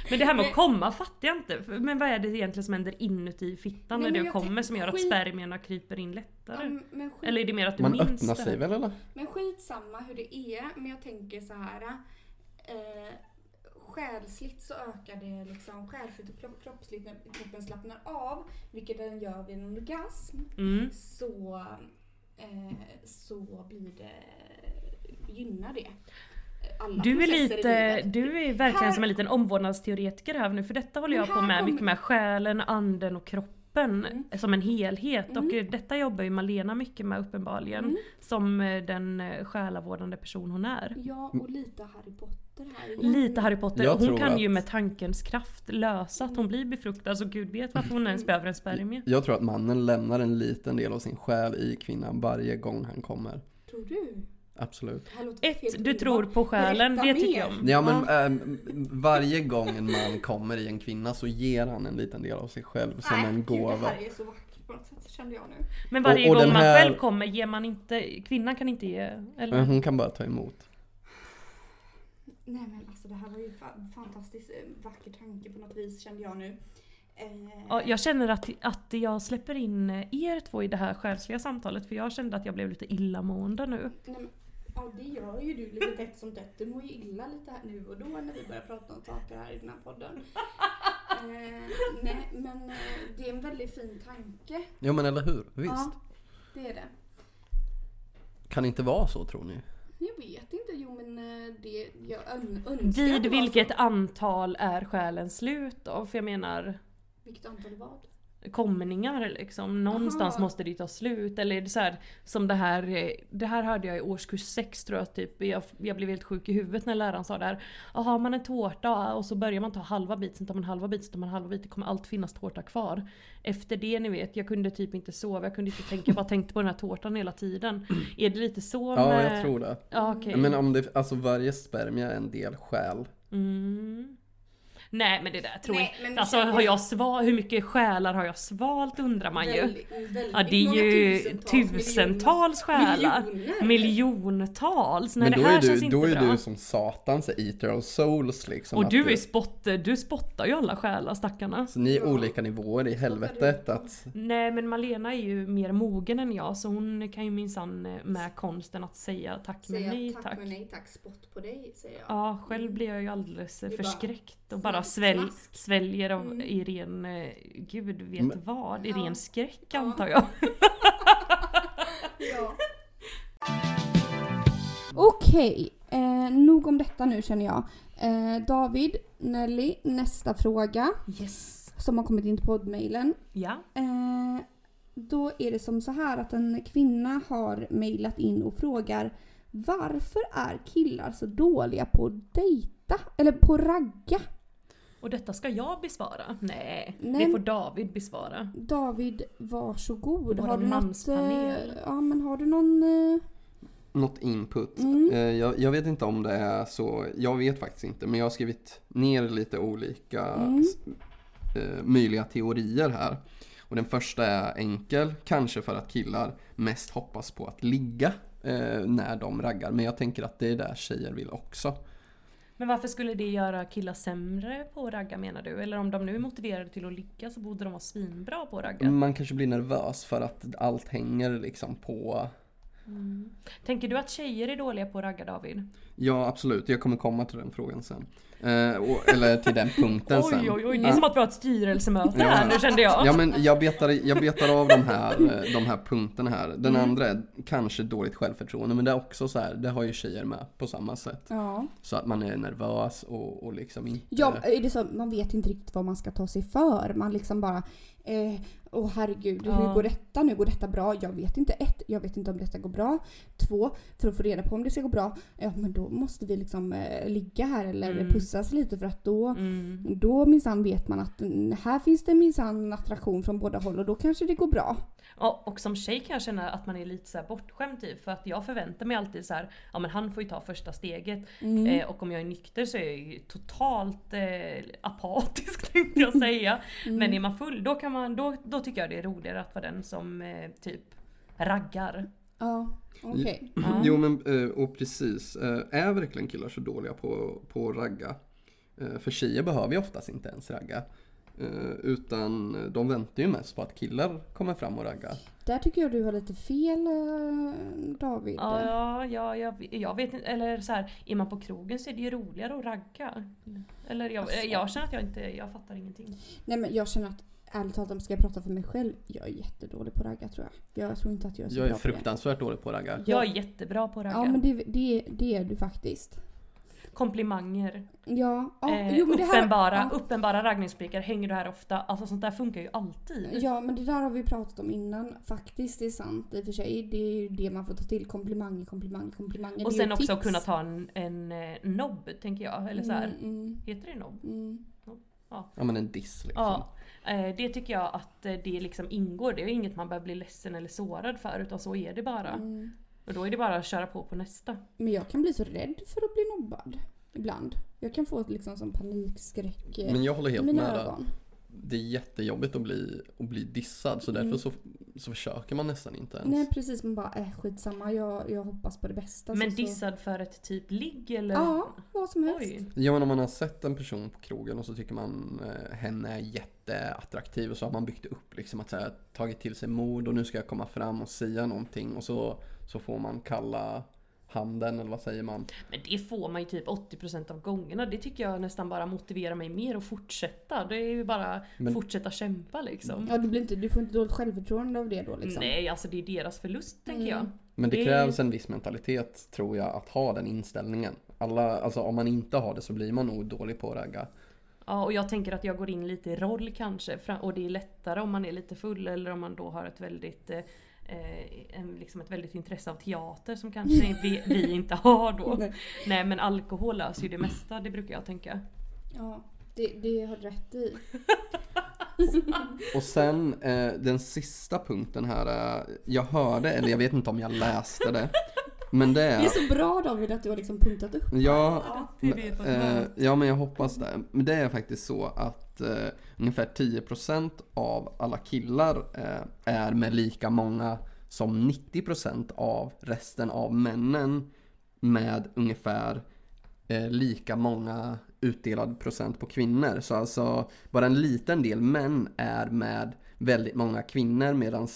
Men det här med att
Men-
komma fattar jag inte. För- Men vad är det egentligen som händer inuti fittan
Nej, men
när du
jag
kommer
tänker-
som gör att
skit-
spermierna kryper in lättare?
ja, men, skit,
Eller är det mer att du
man
minns
öppnar
det?
sig väl eller?
men skitsamma hur det är, men jag tänker så här. Eh, själsligt så ökar det liksom, själsligt och kropp, kroppsligt när kroppen slappnar av, vilket den gör vid en orgasm,
Mm.
så, eh, så blir det, gynnar det. eh, Alla
Du är
processer i
lite,
livet.
du är verkligen
Här-
som en liten omvårdnadsteoretiker här nu för detta håller
Men
jag på
här
med
kommer- Mm.
mycket med själen, anden och kroppen som en helhet och detta jobbar ju Malena mycket med uppenbarligen
Mm.
som eh, den eh, själavårdande person hon är.
Ja, och lite Harry Potter här igen.
Lite Harry Potter,
Jag
hon
tror
kan ju
att-
med tankens kraft lösa att hon blir befruktad så gud vet varför hon
Mm.
ens behöver en spermie.
Jag tror att mannen lämnar en liten del av sin själ i kvinnan varje gång han kommer.
Tror du?
Absolut.
Det här låter helt
Ett, du
underbart.
tror på själen,
Berätta
det tycker
mer.
jag om.
Ja men ehm, varje gång en man kommer i en kvinna så ger han en liten del av sig själv som en
Gud, det
gåva.
här är så vackert på något sätt kände jag nu.
Men varje
och
gång
den
man
här- Mm.
själv kommer ger man inte, kvinnan kan inte ge. Eller?
Men hon kan bara ta emot.
Nej men alltså det här var ju fa- fantastiskt eh, vacker tanke på något vis kände jag nu. Eh,
Ja, jag känner att, att jag släpper in er två i det här själsliga samtalet för jag kände att jag blev lite illamående nu.
nej, men, ja det gör ju du lite tätt som tätt. Du mår ju illa lite här nu och då när vi börjar prata om saker här i den här podden. Eh, nej men eh, det är en väldigt fin tanke.
Ja men eller hur? Visst.
Ja, det är det.
Kan inte vara så tror ni?
Jag vet inte, jo men eh, det jag ön- önskar
Vid
det var så.
vilket antal är själen slut då? För jag menar
alltså, Vilket antal vad?
komningar liksom. Någonstans
Aha.
måste det ju ta slut. Eller är det så här, som det här, eh, det här hörde jag i årskurs 6 tror jag typ. Jag, jag blev helt sjuk i huvudet när läraren sa det här. "Ja, Har man en tårta och så börjar man ta halva bit, sen tar man halva bit, sen tar man halva bit. Det kommer alltid finnas tårta kvar. Efter det ni vet, jag kunde typ inte sova, jag kunde inte tänka, jag bara tänkte på den här tårtan hela tiden. Är det lite så
Ja
med...
jag tror det.
Ja, eh, okej.
Men om det, alltså varje spermie är en del själ.
Mm. Nej men det där tror
Nej,
jag
men-
Alltså har jag sval... hur mycket själar har jag svalt undrar man ju.
Väldigt- väldigt
Ja det är
många
ju
tusentals,
tusentals
miljoner-
själar.
miljoner.
Miljontals. Nej
men
det
då är
här
du,
känns
då
inte
är
bra.
du som satans eater of souls liksom.
Och
att
du, är spott, du spottar ju alla själar stackarna.
så ni är olika nivåer i helvetet att
Nej men Malena är ju mer mogen än jag så hon kan ju minsann eh, med konsten att säga tack men
Säga
nej
tack,
tack.
men nej tack, spott på dig säger jag.
Ja själv blir jag ju alldeles eh,
Det är bara
förskräckt och bara
snack,
svälj,
snask.
sväljer av i ren, eh, gud vet
Men-
vad, i
Ja.
ren skräck
Ja.
antar jag.
Ja. Okej, eh, nog om detta nu känner jag. Eh, David, Nelly, nästa fråga
Yes.
som har kommit in till poddmailen.
Ja.
Eh, då är det som så här att en kvinna har mejlat in och frågar varför är killar så dåliga på att dejta? Eller på att ragga?
Och detta ska jag besvara? Nej,
Nej.
det får David besvara.
David, varsågod.
Vår
Har du, något,
manspanel.
eh, ja, men har du någon eh,
något input.
Mm.
Eh, Jag, jag vet inte om det är så, jag vet faktiskt inte, men jag har skrivit ner lite olika
Mm.
s- eh, möjliga teorier här. Och den första är enkel, kanske för att killar mest hoppas på att ligga eh, när de raggar. Men jag tänker att det är där tjejer vill också.
Men varför skulle det göra killar sämre på att ragga menar du? Eller om de nu är motiverade till att ligga så borde de vara svinbra på att ragga.
Man kanske blir nervös för att allt hänger liksom på
Tänker du att tjejer är dåliga på att ragga David?
Ja absolut, jag kommer komma till den frågan sen. Eh, och, eller till den punkten sen.
Oj oj oj, det är
Ja.
som att vi har ett styrelsemöte
Ja.
här nu kände jag.
Ja men jag betar, jag betar av de här, eh, de här punkterna här. Den andra är kanske dåligt självförtroende men det är också så här, det har ju tjejer med på samma sätt.
Ja.
Så att man är nervös och, och liksom inte...
Ja, eh,
Eh.
är det så, man vet inte riktigt vad man ska ta sig för. Man liksom bara eh, Åh herregud,
Ja.
hur går detta nu? Går detta bra? Jag vet inte. Ett, jag vet inte om detta går bra. Två, för att få reda på om det ska gå bra, ja men då måste vi liksom eh, ligga här eller
Mm.
pussas lite för att då
Mm.
då minsann vet man att mm, här finns det minsann attraktion från båda håll och då kanske det går bra.
Ja, och som tjej kan jag känna att man är lite så här bortskämd typ. För att jag förväntar mig alltid så här, ja men han får ju ta första steget.
Mm.
Eh, och om jag är nykter så är jag ju totalt eh, apatisk tänkte jag säga.
Mm.
Men är man full då, kan man, då, då tycker jag det är roligare att vara den som eh, typ raggar.
Ja, okej. Mm.
Jo men eh, och precis, Eh, är verkligen killar så dåliga på, på att ragga? Eh, För tjejer behöver ju oftast inte ens ragga. Eh, Utan de väntar ju mest på att killar kommer fram och raggar.
Där tycker jag du har lite fel eh, David.
Ja, ja, ja jag, jag vet inte. Eller så här, är man på krogen så är det ju roligare att ragga. Eller jag,
Alltså.
eh, jag känner att jag inte, jag fattar ingenting.
Nej men jag känner att ärligt talat om ska jag prata för mig själv, jag är jättedålig på att ragga tror jag. Jag tror inte att jag är så
Jag är
bra på det.
fruktansvärt dålig på att ragga.
Jag är jättebra på att ragga.
Ja men det, det, det är du faktiskt.
Komplimanger.
Ja, ja
eh,
jo, men det här,
uppenbara,
ja.
uppenbara raggningsblickar hänger du här ofta. Alltså sånt där funkar ju alltid.
Ja men det där har vi pratat om innan faktiskt. Det är sant i och för sig. Det är ju det man får ta till. Komplimanger, komplimanger, komplimanger.
och
Det är ju
sen också
tips.
kunna ta en, en eh, nobb tänker jag. Eller så här.
Mm, mm,
Heter det nobb?
mm.
Ja men en diss liksom.
Ja. Eh, Det tycker jag att eh, det liksom ingår. Det är inget man behöver bli ledsen eller sårad för utan så är det bara.
Mm.
Och då är det bara att köra på på nästa.
Men jag kan bli så rädd för att bli nobbad ibland. Jag kan få ett liksom som panikskräck eh,
Men jag håller
i
helt med
mina
där.
ögon.
det är jättejobbigt att bli, att bli dissad så därför
Mm.
så, så försöker man nästan inte ens.
Nej precis, man bara äh, skitsamma jag, jag hoppas på det bästa.
Men
Alltså så-
dissad för ett typ ligg eller?
Så, ja, vad som helst.
Oj.
Ja men om man har sett en person på krogen och så tycker man eh, henne är jätteattraktiv och så har man byggt upp liksom att så här, tagit till sig mod och nu ska jag komma fram och säga någonting och så, så får man kalla handen eller vad säger man?
Men det får man ju typ 80% av gångerna. Det tycker jag nästan bara motiverar mig mer att fortsätta. Det är ju bara
Men-
fortsätta kämpa liksom.
Ja, du, blir inte, du får inte dåligt självförtroende av det då liksom.
Nej, alltså det är deras förlust tänker
Mm.
jag.
Men det,
Det är-
krävs en viss mentalitet tror jag att ha den inställningen. Alla, alltså om man inte har det så blir man nog dålig på att ragga.
Ja, och jag tänker att jag går in lite i roll kanske. fra- Och det är lättare om man är lite full eller om man då har ett väldigt eh, eh, en, liksom ett väldigt intresse av teater som kanske vi, vi inte har då. Nej.
Nej.
men alkohol löser ju det mesta, det brukar jag tänka.
Ja, det, det har du rätt i.
Och sen eh, den sista punkten här är, jag hörde, eller jag vet inte om jag läste det, men det
Det är
är...
så bra David att du har liksom punktat upp.
Ja,
Det är det på ett
eh,
möte.
ja, men jag hoppas det. Men det är faktiskt så att eh, ungefär 10% av alla killar eh, är med lika många som 90% av resten av männen med ungefär eh, lika många utdelad procent på kvinnor. Så alltså bara en liten del män är med väldigt många kvinnor medan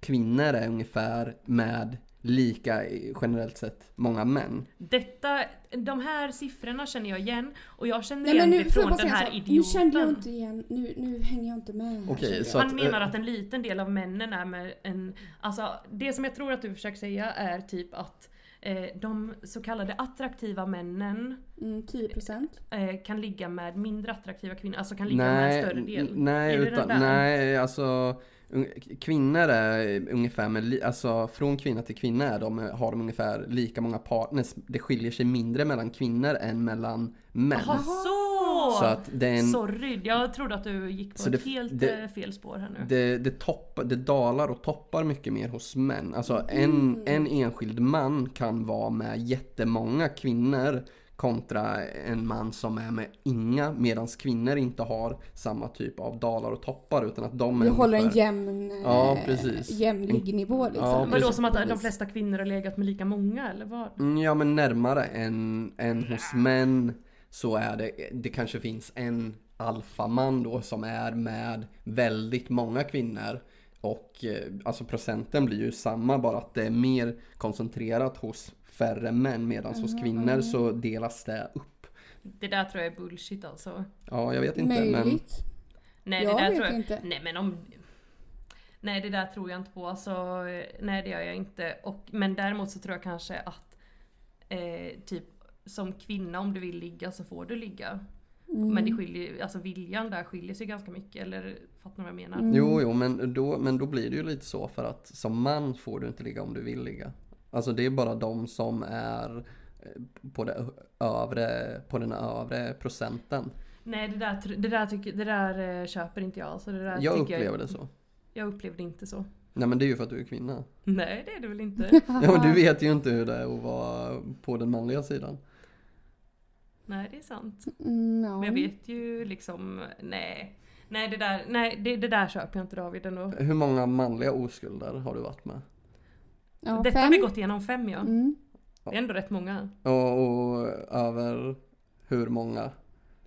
kvinnor är ungefär med lika eh, generellt sett många män.
Detta, de här siffrorna känner jag igen och jag känner
Nej
igen
men
det
nu får jag
från
bara
den
säga en
här
sak. Nu kände jag
idioten.
inte igen, nu, nu hänger jag inte med. här,
Okej,
kände jag.
så-
Han
att,
menar
eh,
att en liten del av männen är med en... Alltså det som jag tror att du försöker säga är typ att eh, de så kallade attraktiva männen
Mm, 10%.
eh, kan ligga med mindre attraktiva kvinnor. Alltså kan ligga med en större del.
n- Nej,
Är det den
utan,
där?
nej alltså un- kvinnor är ungefär med, li- alltså från kvinna till kvinna är de, har de ungefär lika många partners. Det skiljer sig mindre mellan kvinnor än mellan män.
Jaha, så!
Så att det är en,
Sorry, jag trodde att du gick på
Så det-
ett helt
det-
eh, fel spår här nu.
det, det, topp, det dalar och toppar mycket mer hos män. Alltså
Mm.
en, en enskild man kan vara med jättemånga kvinnor kontra en man som är med inga medan kvinnor inte har samma typ av dalar och toppar utan att de är
Du håller en
ungefär-
jämn, eh,
Ja, precis.
jämlig nivå liksom.
Ja,
Men då
precis.
som att de flesta kvinnor har legat med lika många eller vad?
Mm, Ja men närmare än, än hos män så är det, det kanske finns en alfaman då som är med väldigt många kvinnor. Och eh, alltså procenten blir ju samma bara att det är mer koncentrerat hos färre män medan hos kvinnor så delas det upp.
Det där tror jag är bullshit alltså.
Ja jag vet inte men
Möjligt.
Nej,
Jag
det där
vet
tror jag
inte.
Nej, men om... Nej, det där tror jag inte på. Alltså, eh, nej, det gör jag inte. Och, men däremot så tror jag kanske att eh, typ som kvinna om du vill ligga så får du ligga.
Mm,
Men det skiljer, alltså viljan där skiljer sig ganska mycket. Eller fattar ni vad jag menar?
Mm.
Jo, jo, men då, men då blir det ju lite så för att som man får du inte ligga om du vill ligga. Alltså det är bara de som är eh, på, det övre, på den övre procenten.
Nej, det där, tr- det där, tycker, det där eh, köper inte jag. Alltså, det där
Jag
tycker
upplever det så.
Jag, jag upplevde inte så.
Nej men det är ju för att du är kvinna.
Nej, det är det väl inte.
Ja, men du vet ju inte hur det är att vara på den manliga sidan.
nej, det är sant.
Mm, ja.
Men jag vet ju liksom, nej. Nej, det där, nej, det, det där köper jag inte David ändå.
Hur många manliga oskulder har du varit med?
Ja,
Detta
fem.
har vi gått igenom fem ja.
Mm.
Det är ändå rätt många.
Och, och över hur många?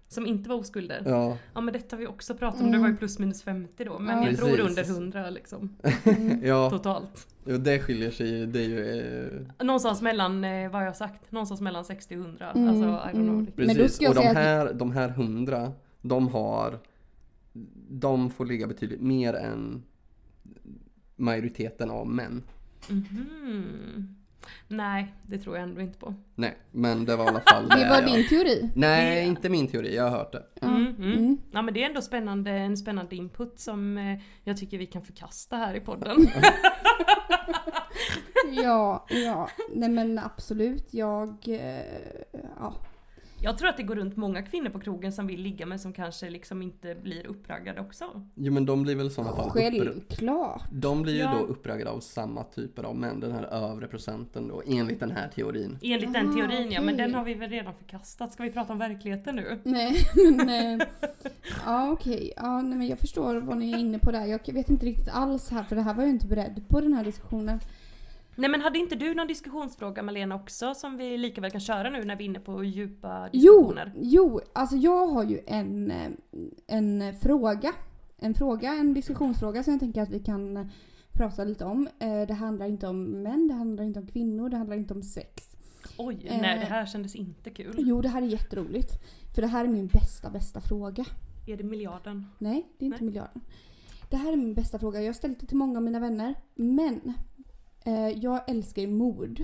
Som inte var oskulder.
Ja,
Ja men detta har vi också pratat
Mm.
om, det var ju plus minus 50 då. Men
Ja.
jag tror
Precis.
under 100 liksom.
Mm.
ja
Totalt.
och det skiljer sig ju. Det är ju eh,
Någonstans mellan, eh, vad har jag sagt? Någonstans mellan 60 och 100.
Mm.
Alltså I don't know. riktigt.
Men då
Precis,
ska jag
och de
säga att-
här, de här hundra, de har De får ligga betydligt mer än majoriteten av män.
Mhm. Nej, det tror jag ändå inte på.
Nej, men det var i alla fall det.
Det var
jag-
din teori.
Nej, inte min teori. Jag har hört det.
Mm, mm. Ja men det är ändå spännande, en spännande input som eh, jag tycker vi kan förkasta här i podden.
Ja, ja. Nej men absolut. Jag... eh, Ja.
jag tror att det går runt många kvinnor på krogen som vill ligga men som kanske liksom inte blir uppraggade också.
Jo men de blir väl i sådana fall uppr-
Självklart.
De blir ju
Ja.
då uppraggade av samma typer av män, den här övre procenten då, enligt den här teorin.
Enligt den
Ah,
teorin ja, men
okej.
den har vi väl redan förkastat. Ska vi prata om verkligheten nu?
Nej, men... eh, Ja, okej. Ja, nej, men jag förstår vad ni är inne på där. Jag vet inte riktigt alls här, för det här var jag inte beredd på den här diskussionen.
Nej men hade inte du någon diskussionsfråga Malena också som vi lika väl kan köra nu när vi är inne på djupa
Jo,
diskussioner?
jo, alltså jag har ju en, eh, en fråga. En fråga, en diskussionsfråga som jag tänker att vi kan eh, prata lite om. Eh, Det handlar inte om män, det handlar inte om kvinnor, det handlar inte om sex.
Oj,
Eh. Mm.
nej det här kändes inte kul.
Jo, det här är jätteroligt. För det här är min bästa, bästa fråga.
Är det miljarden?
Nej, det är inte
Nej.
miljarden. Det här är min bästa fråga. Jag har ställt det till många av mina vänner. Men eh, jag älskar ju mord.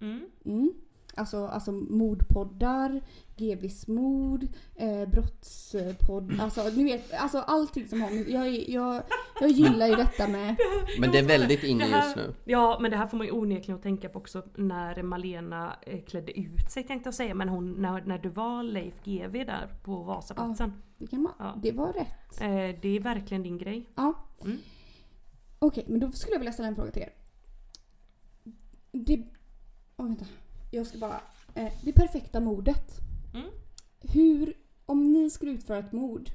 Mm.
Mm. Alltså, alltså mordpoddar, GVs mord, eh, brottspodd, alltså ni vet, alltså allting som har med- jag, är- jag, jag gillar ju detta med...
Men det är väldigt
Det
inne
här-
just nu.
Ja men det här får man ju onekligen att tänka på också när Malena eh, klädde ut sig tänkte jag säga men hon, när, när du var Leif GW där på Vasaplatsen.
Det, kan man,
Ja.
det var rätt.
Eh, det är verkligen din grej.
Ja.
Mm.
Okej, men då skulle jag vilja ställa en fråga till er. Det... Åh, vänta. Jag ska bara... Eh, det perfekta mordet.
Mm.
Hur... Om ni skulle utföra ett mord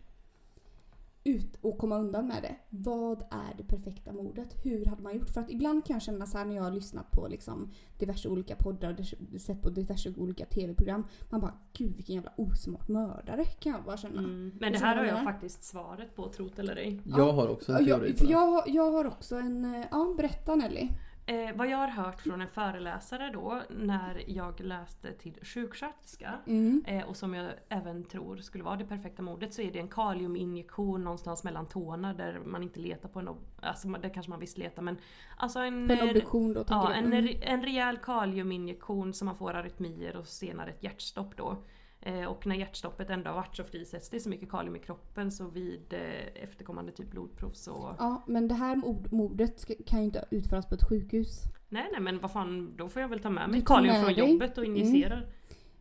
ut och komma undan med det. Vad är det perfekta mordet? Hur hade man gjort? För att ibland kan jag känna så här när jag har lyssnat på liksom diverse olika poddar och dis- sett på diverse olika tv-program. Man bara gud vilken jävla osmart mördare kan jag bara känna.
Mm. Men det
Så
här har
vad
jag
menar?
faktiskt svaret på, trot eller ej.
Jag har också en
Ja,
teori
Jag,
på
för
det.
jag, har- jag har också en... eh, Ja, berätta Nelly.
Eh, vad jag har hört från en föreläsare då när jag läste till sjuksköterska
Mm.
eh, och som jag även tror skulle vara det perfekta mordet så är det en kaliuminjektion någonstans mellan tårna där man inte letar på en... ob- Alltså man- där kanske man visst letar men... Alltså en...
På en
eh,
obduktion då tänker
Ja,
du?
en,
Mm.
re- en rejäl kaliuminjektion som man får arytmier och senare ett hjärtstopp då. Eh, Och när hjärtstoppet ändå har varit så frisätts det så mycket kalium i kroppen så vid eh, efterkommande typ blodprov så...
Ja, men det här mord- mordet ska- kan ju inte utföras på ett sjukhus.
Nej nej men vad fan, då får jag väl ta med mig
Du tar
kalium
med
från
dig.
jobbet och
Mm.
injicera.
På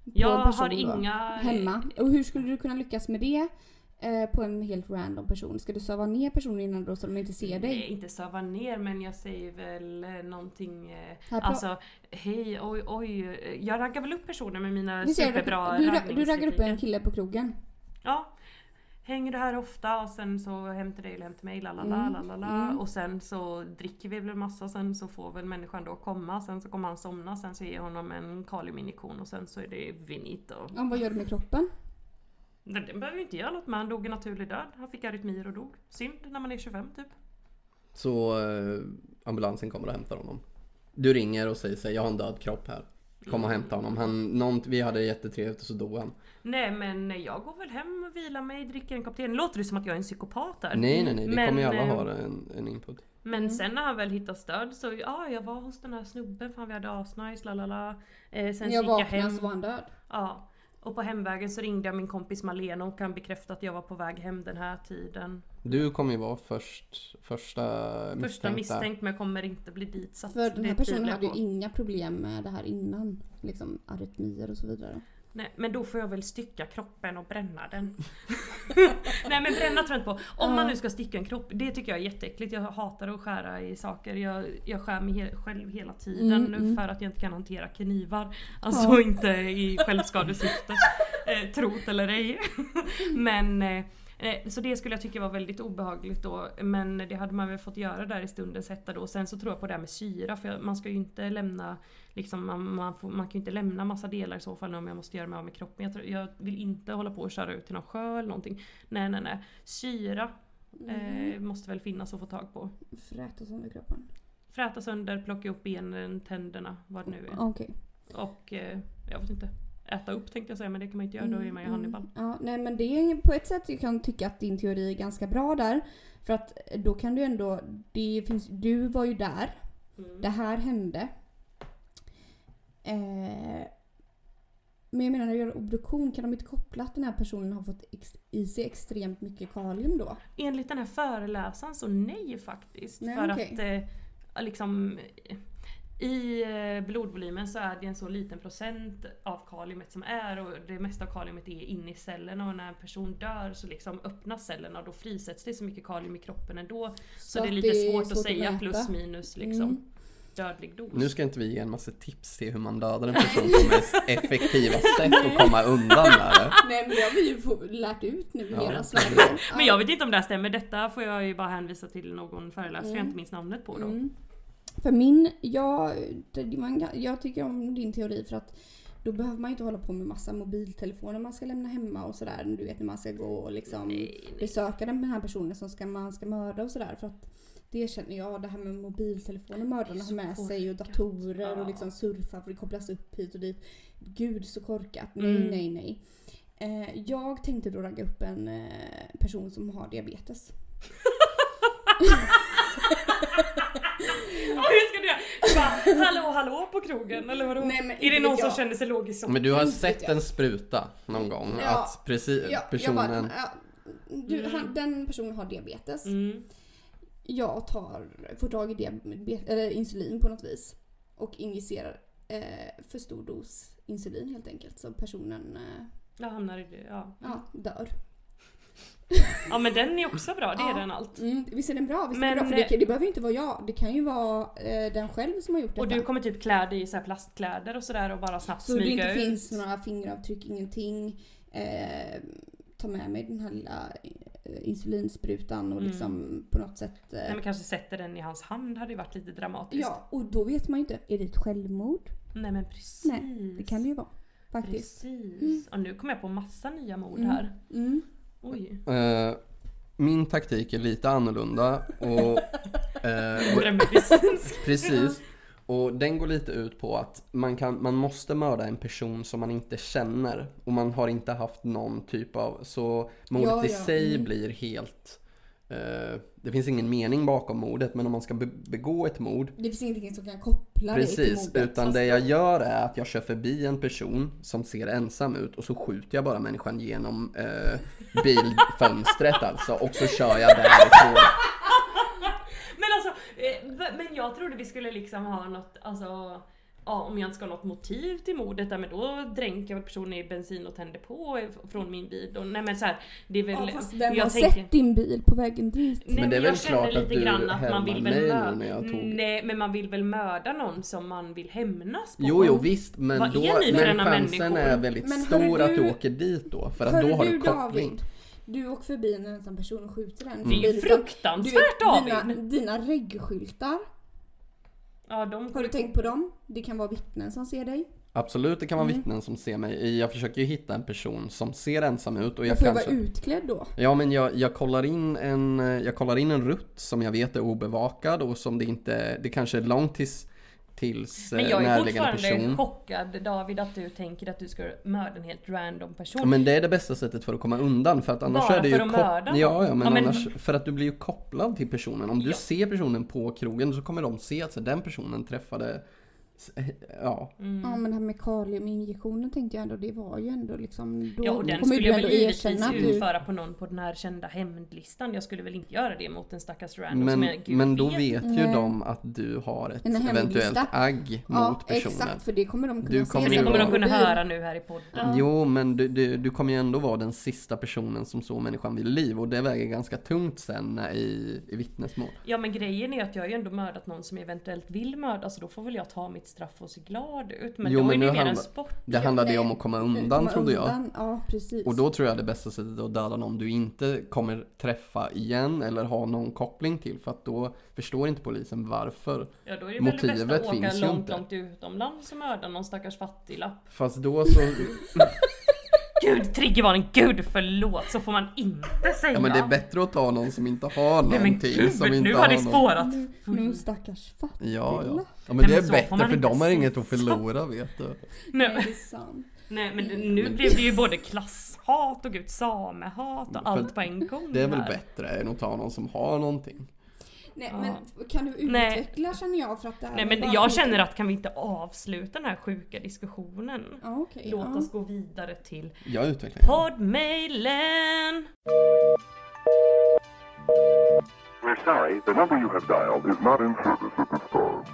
Jag
en person
har inga...
Hemma. Och hur skulle du kunna lyckas med det eh, på en helt random person? Ska du söva ner personen innan då så de inte ser dig?
Nej, inte söva ner men jag säger väl eh, någonting... eh,
Här pra-
Alltså, hej, oj, oj. eh, Jag raggar väl upp personer med mina
Du, ser,
superbra
du, ra- du raggar upp en
raggningstekniker.
kille på krogen.
Ja. Hänger du här ofta och sen så hem till dig eller hem till mig, lalala,
Mm,
lalala.
mm.
Och sen så dricker vi väl en massa, sen så får väl människan då komma, sen så kommer han somna, sen så ger jag honom en kaliuminjektion och sen så är det vinito.
Ja, vad gör du med kroppen?
Den den behöver ju inte göra något med, han dog en naturlig död. Han fick arytmier och dog. Synd när man är 25 typ.
Så eh, ambulansen kommer och hämtar honom. Du ringer och säger så här, jag har en död kropp här. Kom och hämta honom. Han, någon, vi hade jättetrevligt och så dog han.
Nej men jag går väl hem och vilar mig, dricker en kopp te. Nu låter det som att jag är en psykopat här.
Nej, nej, nej. Vi
Men,
kommer ju alla
eh,
ha Mm. en, en input.
Men sen när han väl hittar stöd så ja, jag var hos den här snubben, fan vi hade asnice, lalala. Eh, sen
När
så
jag
gick jag
vaknade
hem.
så var han död.
Ja. Och på hemvägen så ringde jag min kompis Malena och kan bekräfta att jag var på väg hem den här tiden.
Du kommer ju vara först, första misstänkta.
Första misstänkt men jag kommer inte bli ditsatt.
För
Det
den här
är
personen
tydliga
hade ju
på.
inga problem med det här innan. Liksom arytmier och så vidare.
Nej, men då får jag väl stycka kroppen och bränna den. Nej men bränna tror jag inte på. Om man nu ska stycka en kropp, det tycker jag är jätteäckligt. Jag hatar att skära i saker. Jag, jag skär mig he- själv hela tiden
Mm,
nu
mm.
för att jag inte kan hantera knivar. Alltså inte i självskadesyfte. eh, trot eller ej. men eh, eh, så det skulle jag tycka var väldigt obehagligt då. Men det hade man väl fått göra där i stundens hetta då. Sen så tror jag på det här med syra för jag- man ska ju inte lämna Liksom man, man, får, man kan ju inte lämna massa delar i så fall om jag måste göra mig av med kroppen. Jag, tror, jag vill inte hålla på och köra ut till någon sjö eller någonting. Nej nej nej. Syra
Mm.
eh, måste väl finnas att få tag på.
Fräta sönder kroppen.
Fräta sönder, plocka upp benen, tänderna, vad det nu är.
Okej.
Och eh, jag vet inte. Äta upp tänkte jag säga men det kan man inte göra, då är
Mm,
man ju Hannibal.
Ja, nej men det är på ett sätt jag kan tycka att din teori är ganska bra där. För att eh, då kan du ändå, det finns, du var ju där. Det här hände. Eh, men jag menar när du gör obduktion kan de inte koppla att den här personen har fått ex, i sig extremt mycket kalium då?
Enligt den här föreläsaren så nej faktiskt.
Nej,
för
okej.
att eh, liksom eh, i eh, blodvolymen så är det en så liten procent av kaliumet som är och det mesta av kaliumet är inne i cellerna och när en person dör så liksom öppnas cellerna och då frisätts det så mycket kalium i kroppen ändå. Så,
att
det är lite svårt, att säga
mäta.
plus minus liksom.
Mm.
Dödlig dos.
Nu ska inte vi ge en massa tips till hur man dödar en person på mest effektiva sätt och komma undan med det.
Nej men det har vi ju få- lärt ut nu i
Ja.
hela Sverige.
Men jag vet inte om det här stämmer. Detta får jag ju bara hänvisa till någon föreläsare jag inte minns namnet på då.
Mm. För min, jag, det, det var en, ga- jag tycker om din teori för att då behöver man inte hålla på med massa mobiltelefoner man ska lämna hemma och sådär. Du vet när man ska gå och liksom besöka den här personen som ska, man ska mörda och sådär. För att det känner jag, det här med mobiltelefoner mördarna har med sig och datorer och
Ja.
liksom surfa för det kopplas upp hit och dit. Gud så korkat. Nej,
Mm.
nej, nej. Eh, jag tänkte då ragga upp en eh, person som har diabetes.
Ja, hur ska du göra? Du bara, hallå hallå på krogen eller vadå?
Nej, men
är
inte
det någon
vet
som
jag.
känner sig låg i socker?
Men du har
Inte vet
sett
jag.
en spruta någon gång?
Ja.
Att precis,
Ja,
personen...
Jag bara, ja, du,
Mm.
han, den personen har diabetes.
Mm.
Jag tar, får tag i diabetes, eller insulin på något vis och injicerar eh, för stor dos insulin helt enkelt så personen eh,
Jag hamnar i det, ja.
ja, dör.
Ja men den är också bra, det är
Ja.
den allt.
Mm, visst är den bra? Visst är
Men,
den bra? För det,
eh,
kan- det behöver ju inte vara jag. Det kan ju vara eh, den själv som har gjort
Och
detta.
du kommer typ klä dig i så här plastkläder och sådär och bara snabbt
så det
smyga
inte
ut.
finns några fingeravtryck, ingenting. Eh, ta med mig den här lilla eh, insulinsprutan och
Mm.
liksom på något sätt. Eh,
Nej men kanske sätter den i hans hand hade ju varit lite dramatiskt.
ja, och då vet man ju inte. Är det ett självmord?
Nej men precis.
Nej, Det kan det ju vara. Faktiskt.
Precis. Och nu kommer jag på massa nya mord här.
Mm.
Oj.
Eh, min taktik är lite annorlunda och eh,
Undrar medicinsk.
precis. Och den går lite ut på att man, kan, man måste mörda en person som man inte känner och man har inte haft någon typ av, så mordet
Ja,
i
ja.
sig
Mm.
blir helt eh, Det finns ingen mening bakom mordet men om man ska be- begå ett mord
Det finns ingenting som kan koppla det till
Precis,
mordet.
utan
fast-
det jag gör är att jag kör förbi en person som ser ensam ut och så skjuter jag bara människan genom eh, bilfönstret alltså och så kör jag därifrån.
Men alltså, eh, v- men jag trodde vi skulle liksom ha något, alltså Ja, om jag inte ska ha något motiv till mordet, ja, men då dränker jag personen i bensin och tänder på eh, från min bil. Och, nej men så här, det är väl...
Ja, fast vem
jag
har Mm.
tänker-
sett din bil på vägen dit?
Nej,
Men det är
jag
väl
känner
klart att
lite
du
grann att man
härmar
vill
mig
väl
nu
mö-
när jag tog-
Nej men man vill väl mörda någon som man vill hämnas på.
Jo, jo visst, men,
Vad är
då,
ni för
men
ena
chansen
människor?
är väldigt
Men hörru
stor att du
du-
åker dit då för att
Hörru
då har du
du
koppling.
David, du åker förbi en ensam person och skjuter den.
Det är ju fruktansvärt
Mm. dina,
David!
dina reggskyltar,
Ja, de
har du tänkt på dem? Det kan vara vittnen som ser dig.
Absolut, det kan
Mm.
vara vittnen som ser mig. Jag försöker ju hitta en person som ser ensam ut och
Du
jag
får ju vara
kanske...
utklädd då.
Ja men jag, jag, kollar in en, jag kollar in en rutt som jag vet är obevakad och som det inte, det kanske är långt tills, tills eh,
Men jag är
närliggande
fortfarande
person.
chockad David att du tänker att du ska mörda en helt random person.
Men det är det bästa sättet för att komma undan för att annars
Bara
är det ju
för att
kop-
mörda
ja,
någon?
ja, men
Ja, men-
annars för att du blir ju kopplad till personen. Om du
Ja.
ser personen på krogen så kommer de se att så, den personen träffade eh, Ja,
Mm.
Ja men det här med kaliuminjektionen tänkte jag ändå, det var ju ändå liksom... Då
ja, och den
kommer
skulle
du
jag
ändå
väl givetvis
erkänna att du-
utföra på någon på den här kända hämndlistan. Jag skulle väl inte göra det mot en stackars random som
men,
jag gud
men då
vet.
vet ju de att du har ett
En hemlista.
eventuellt agg
Ja
mot personen.
exakt, för det kommer de kunna
Du kommer
se.
Men
ju
det kommer
vara-
de kunna
Mobil.
höra nu här i podden.
Jo, men du, du, du kommer ju ändå vara den sista personen som såg människan vid liv och det väger ganska tungt sen i, i vittnesmål.
Ja men grejen är att jag har ju ändå mördat någon som eventuellt vill mörda så då får väl jag ta mitt straff och se glad ut. Men
Jo,
då
men
är det
nu
ju mer en
handlar-
sport.
Det handlade ju om
nej.
att komma undan
Komma
trodde jag.
undan, Ja precis.
Och då tror jag det bästa sättet att döda någon du inte kommer träffa igen eller ha någon koppling till för att då förstår inte polisen varför.
Ja då är det väl det bästa
Motivet
att åka
finns ju
långt,
inte.
långt utomlands och mörda någon stackars fattiglapp.
Fast då så...
Gud, triggervarning! Gud förlåt! Så får man inte säga!
Ja men det är bättre att ta någon som inte har
Nej men
någonting.
gud,
som inte
nu har det
någon-
spårat!
Nu,
Mm.
nu stackars fattig.
Ja, ja. ja men
men
det är
så får
bättre
man
för
inte
de har
se.
inget att förlora vet du.
Nej,
Nej,
det är sant.
nej men det- nu blev det ju både klasshat och gud samehat och allt på en gång
Det är väl
här.
bättre än att ta någon som har någonting.
Nej,
Ja.
men kan du
Nej.
utveckla känner jag för att det här
Nej
var
men
bara
jag
sjukt.
känner att kan vi inte avsluta den här sjuka diskussionen?
Ja, okej,
Låt
ja.
oss gå vidare till
Jag utvecklar gärna.
poddmailen!
We're sorry, the number you have dialed is not in service at this time.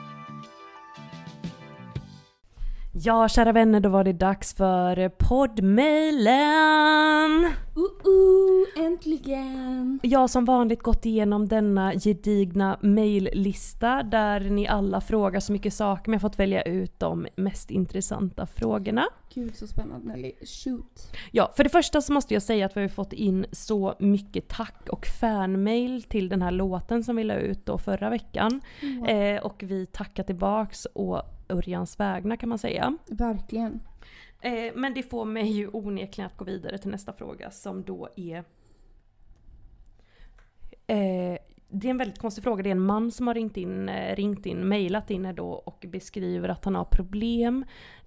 Ja kära vänner, då var det dags för poddmailen!
Uh, uh, äntligen!
Jag har som vanligt gått igenom denna gedigna maillista där ni alla frågar så mycket saker men jag har fått välja ut de mest intressanta frågorna.
Gud så spännande Nelly. Shoot.
Ja, för det första så måste jag säga att vi har fått in så mycket tack och fanmail till den här låten som vi la ut då förra veckan. Eh, och vi tackar tillbaks å Örjans vägnar kan man säga.
Verkligen.
Eh, men det får mig ju onekligen att gå vidare till nästa fråga som då är... Eh, det är en väldigt konstig fråga. Det är en man som har ringt in, eh, ringt in, mejlat in här då och beskriver att han har problem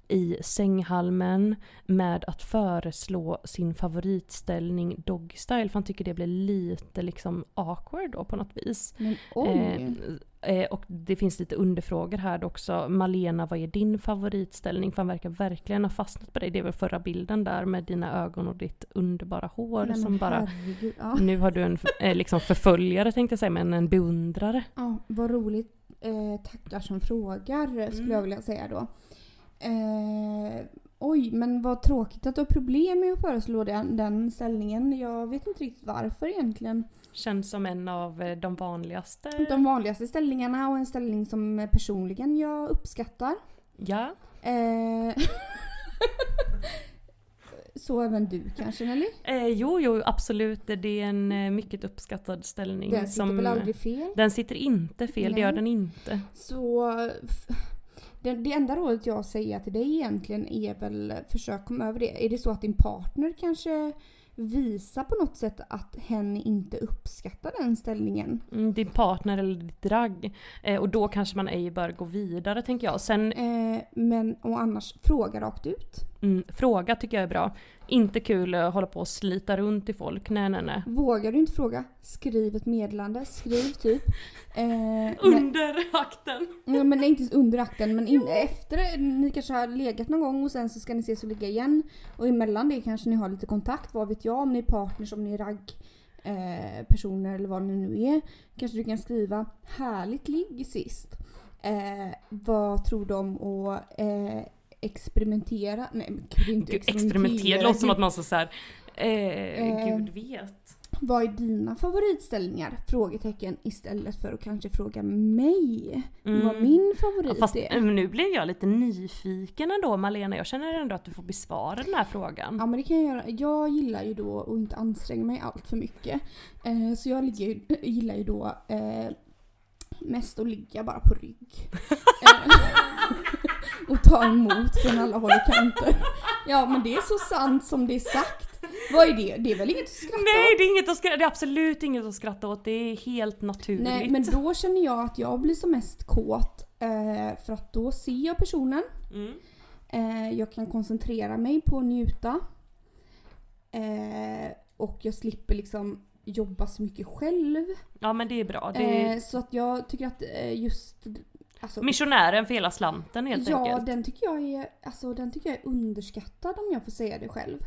i sänghalmen med att föreslå sin favoritställning doggy style för han tycker det blir lite liksom awkward då på något vis.
Men oj.
Eh, Eh, och det finns lite underfrågor här då också. Malena, vad är din favoritställning? För han verkar verkligen ha fastnat på dig. Det är väl förra bilden där med dina ögon och ditt underbara hår
Nej, men
som bara...
herregud. Ja.
Nu har du en eh, liksom förföljare tänkte jag säga, men en beundrare.
Ja, vad roligt. Eh, tackar som frågar skulle jag vilja säga då. Eh, oj, men vad tråkigt att du har problem med att föreslå den, den ställningen. Jag vet inte riktigt varför egentligen.
Känns som en av eh, de vanligaste.
De vanligaste ställningarna och en ställning som personligen jag uppskattar.
Ja.
Eh, så även du kanske Nelly?
Eh, jo, jo, absolut. Det är en eh, mycket uppskattad ställning.
Den sitter väl aldrig fel?
Den sitter inte fel, det gör
Nej.
den inte.
Så f- det, det enda rådet jag säger till dig egentligen är väl försök komma över det. Är det så att din partner kanske visar på något sätt att hen inte uppskattar den ställningen?
Mm, din partner eller ditt drag. Eh, och då kanske man ej bör gå vidare tänker jag. Sen
Eh, men och annars fråga rakt ut.
Mm, fråga tycker jag är bra. Inte kul att hålla på och slita runt i folk. Nej, nej, nej.
Vågar du inte fråga? Skriv ett meddelande. Skriv typ. Eh, men,
Under akten.
ja, men inte ens under akten men in, efter ni kanske har legat någon gång och sen så ska ni ses och ligga igen. Och emellan det kanske ni har lite kontakt. Vad vet jag om ni är partners, om ni är ragg eh, personer eller vad ni nu är. Kanske du kan skriva “Härligt ligg sist”. Eh, vad tror du om att eh, experimentera? Nej men gud, inte
Gud, experimentera. Det låter som att man så såhär, eh,
Eh.
gud vet.
Vad är dina favoritställningar? Frågetecken istället för att kanske fråga mig vad min
Mm. Ja,
favorit
Fast
är.
eh, nu blev jag lite nyfiken ändå Malena. Jag känner ändå att du får besvara den här
Ja
frågan.
men det kan jag göra. Jag gillar ju då att inte anstränga mig allt för mycket. Eh, så jag ligger, ju- gillar ju då eh, mest att ligga bara på rygg. eh, och ta emot från alla håll och kanter. Ja men det är så sant som det är sagt. Vad är det? Det är väl inget att skratta
Nej
åt?
det är, inget att skratta, det är absolut inget att skratta åt. Det är helt naturligt.
Nej men då känner jag att jag blir som mest kåt. Eh, för att då ser jag personen.
Mm.
Eh, jag kan koncentrera mig på att njuta. Eh, och jag slipper liksom jobba så mycket själv.
Ja men det är bra. Det är
Eh, så att jag tycker att eh, just... Alltså,
missionären för hela slanten helt
ja,
enkelt.
den tycker, jag är, alltså, den tycker jag är underskattad om jag får säga det själv.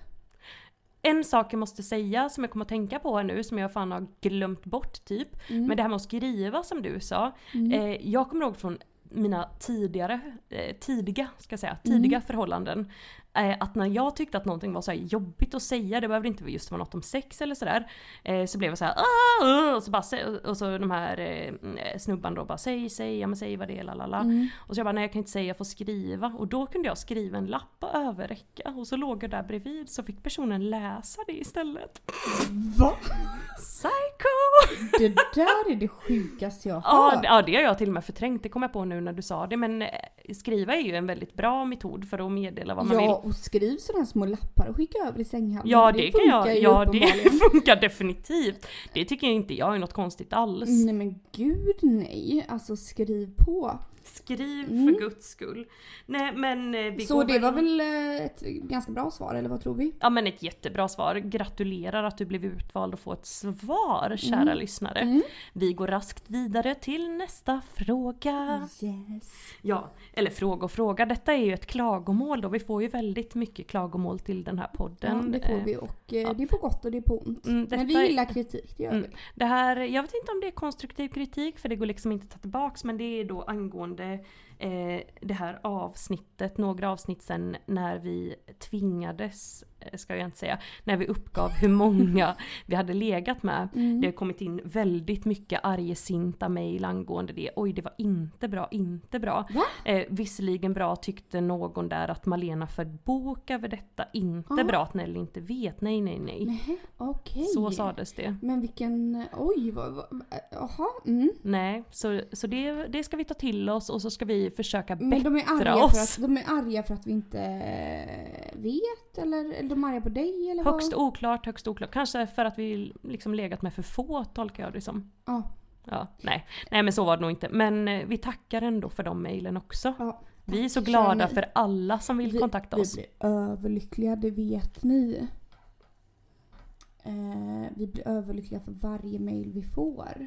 En sak jag måste säga som jag kommer att tänka på här nu som jag fan har glömt bort typ. Men det här med att skriva som du sa. Eh, jag kommer ihåg från mina tidigare, eh, tidiga ska jag säga, tidiga förhållanden. Eh, att när jag tyckte att någonting var så här jobbigt att säga, det behövde inte typ just vara något om sex eller sådär. Eh, så blev jag så här "Ah, ah", och så, bara, sä- och så de här eh, snubban då bara säg, säg, ja men säg vad det är, lalala.
Mm.
Och så jag bara nej jag kan inte säga, jag får skriva. Och då kunde jag skriva en lapp och överräcka. Och så låg jag där bredvid så fick personen läsa det istället.
Va?
Psycho!
Det där är det sjukaste jag har
Ja, d- ja, det har jag till och med förträngt. Det kom jag på nu när du sa det. Men eh, skriva är ju en väldigt bra metod för att meddela vad man
Ja,
vill.
och skriv sådana små lappar och skicka över i sänghalmen.
Ja,
för
det, kan
funkar
jag.
ju
Ja, det
uppenbarligen.
funkar definitivt. Det tycker jag inte jag är något konstigt alls.
Nej men gud nej. Alltså skriv på.
Skriv
Mm.
för guds skull. Nej, men eh, vi
Så
går
det var väl eh, ett ganska bra svar eller vad tror vi?
Ja men ett jättebra svar. Gratulerar att du blev utvald och få ett svar kära
Mm.
lyssnare. Vi går raskt vidare till nästa
Mm.
fråga.
Yes.
Ja, eller fråga och fråga. Detta är ju ett klagomål då. Vi får ju väldigt mycket klagomål till den här
Ja,
podden.
det får
Eh,
vi och eh,
ja.
det är på gott och det är på ont.
Mm,
men
detta
vi
är-
gillar kritik, det gör
Mm.
vi.
Det här, jag vet inte om det är konstruktiv kritik för det går liksom inte att ta tillbaks men det är då angående eh, det här avsnittet, några avsnitt sen när vi tvingades, eh, ska jag inte säga, när vi uppgav hur många vi hade legat med.
Mm.
Det har kommit in väldigt mycket argsinta mejl angående det. Oj det var inte bra, inte bra.
Va?
Eh, visserligen bra tyckte någon där att Malena föll bok över detta. Inte
Ja.
bra att Nelly inte vet. Nej nej nej.
Nähä, okej.
Så sades det.
Men vilken, oj vad, vad jaha. Mm.
Nej, så, så det, det ska vi ta till oss och så ska vi försöka
Men
bättra
de är, arga för
oss.
att, de är arga för att vi inte eh, vet eller, eller de är arga på dig eller
Högst
vad?
oklart, högst oklart. Kanske för att vi liksom legat med för få tolkar jag det som.
Ja.
Ja, nej. nej, men så var det nog inte. Men eh, vi tackar ändå för de mejlen också.
Ja,
vi är så
tack,
glada
kör ni.
för alla som vill kontakta
vi
oss.
Vi blir överlyckliga, det vet ni. Eh, vi blir överlyckliga för varje mail vi får.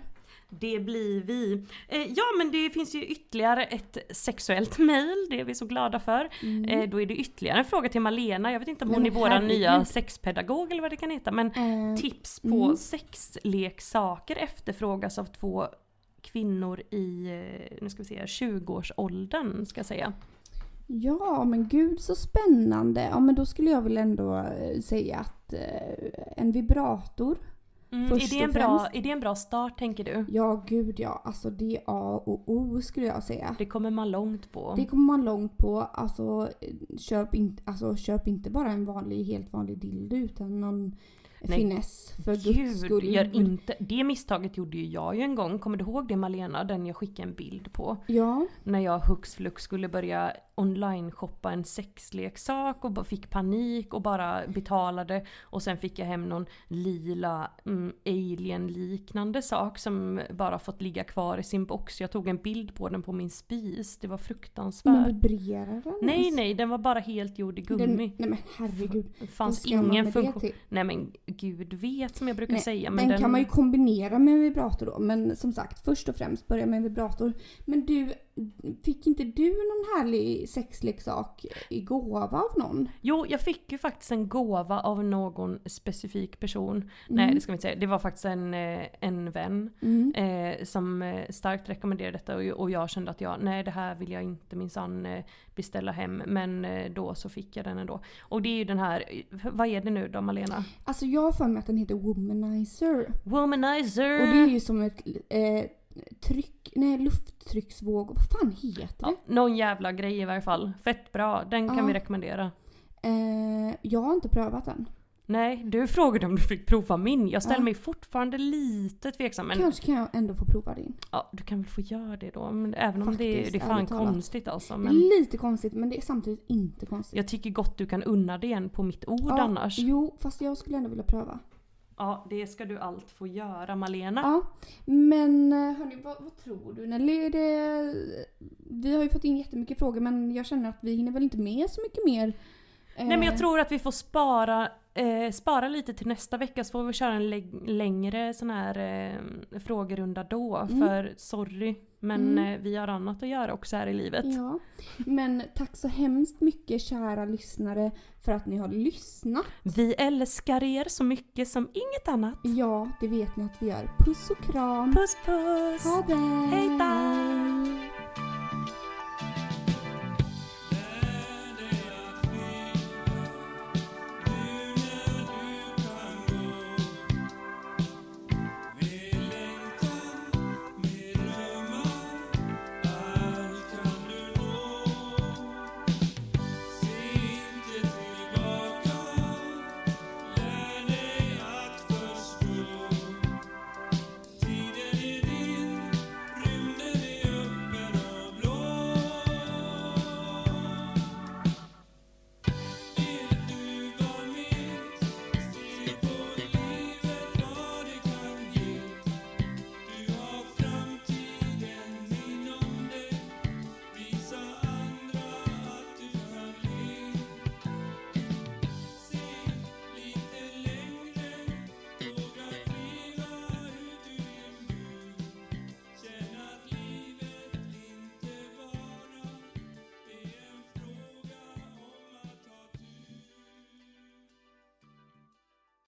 Det blir vi. Eh, ja men det finns ju ytterligare ett sexuellt mejl, det är vi så glada för. Eh, då är det ytterligare en fråga till Malena, jag vet inte om
Nej,
hon är
Mm. men
vår
herregud.
nya sexpedagog eller vad det kan heta. Men
Eh,
tips på sexleksaker efterfrågas av två kvinnor i, eh, nu ska vi se, 20-årsåldern ska jag säga.
Ja, men gud så spännande. Ja, men då skulle jag väl ändå eh, säga att eh, en vibrator.
Mm,
Först
är, det en
och
bra,
främst.
är det en bra start tänker du?
Ja, gud ja. Alltså det är A och O skulle jag säga.
Det kommer man långt på.
Det kommer man långt på. Alltså eh, köp, in, alltså, köp inte bara en vanlig, helt vanlig dildo utan någon
Nej,
finess för guds
Gud,
skull.
gör inte, det misstaget gjorde ju jag ju en gång. Kommer du ihåg det Malena? Den jag skickade en bild på.
Ja.
När jag hux flux skulle börja online-shoppa en sexleksak och bara fick panik och bara betalade. Och sen fick jag hem någon lila mm, alien-liknande sak som bara fått ligga kvar i sin box. Jag tog en bild på den på min spis. Det var fruktansvärt.
Men vibrerar den?
Nej
ens?
nej, den var bara helt gjord i
Den,
gummi.
nej men herregud.
Det fanns
vad ska man
ingen
med det
funktion.
till?
Nej men gud vet som jag brukar
Nej,
säga. Men
Den, kan man ju kombinera med en vibrator då. Men som sagt, först och främst börja med en vibrator. Men du, fick inte du någon härlig sexleksak i gåva av någon?
Jo, jag fick ju faktiskt en gåva av någon specifik person.
Mm.
Nej, det ska vi inte säga. Det var faktiskt en, eh, en vän eh, som eh, starkt rekommenderade detta och, och jag kände att jag, nej det här vill jag inte minsann eh, beställa hem. Men eh, då så fick jag den ändå. Och det är ju den här, eh, vad är det nu då Malena?
Alltså jag har för mig att den heter Womanizer.
Womanizer!
Och det är ju som ett eh, tryck, nej lufttrycksvåg. Vad fan heter
ja,
det?
någon jävla grej i varje fall. Fett bra, den kan
Ja.
vi rekommendera.
Eh, jag har inte prövat den.
Nej, du frågade om du fick prova min. Jag ställer
Ja.
mig fortfarande lite tveksam. Men
Kanske kan jag ändå få prova din.
Ja, du kan väl få göra det då. Men även om det,
Faktiskt,
det är fan
ärligt talat.
konstigt alltså.
Det
Men
är lite konstigt men det är samtidigt inte konstigt.
jag tycker gott du kan unna dig en på mitt ord
Ja,
annars.
Jo, fast jag skulle ändå vilja pröva.
Ja, det ska du allt få göra Malena.
Ja, men eh, hörni, vad, vad tror du Nelly? Är det... Vi har ju fått in jättemycket frågor men jag känner att vi hinner väl inte med så mycket mer. eh,
Nej men jag tror att vi får spara, eh, spara lite till nästa vecka så får vi köra en läng- längre sån här eh, frågerunda då. För sorry, men
Mm.
eh, vi har annat att göra också här i livet.
Ja, men tack så hemskt mycket kära lyssnare för att ni har lyssnat.
Vi älskar er så mycket som inget annat.
Ja, det vet ni att vi gör. Puss och kram!
Puss puss!
Ha det!
Hej då!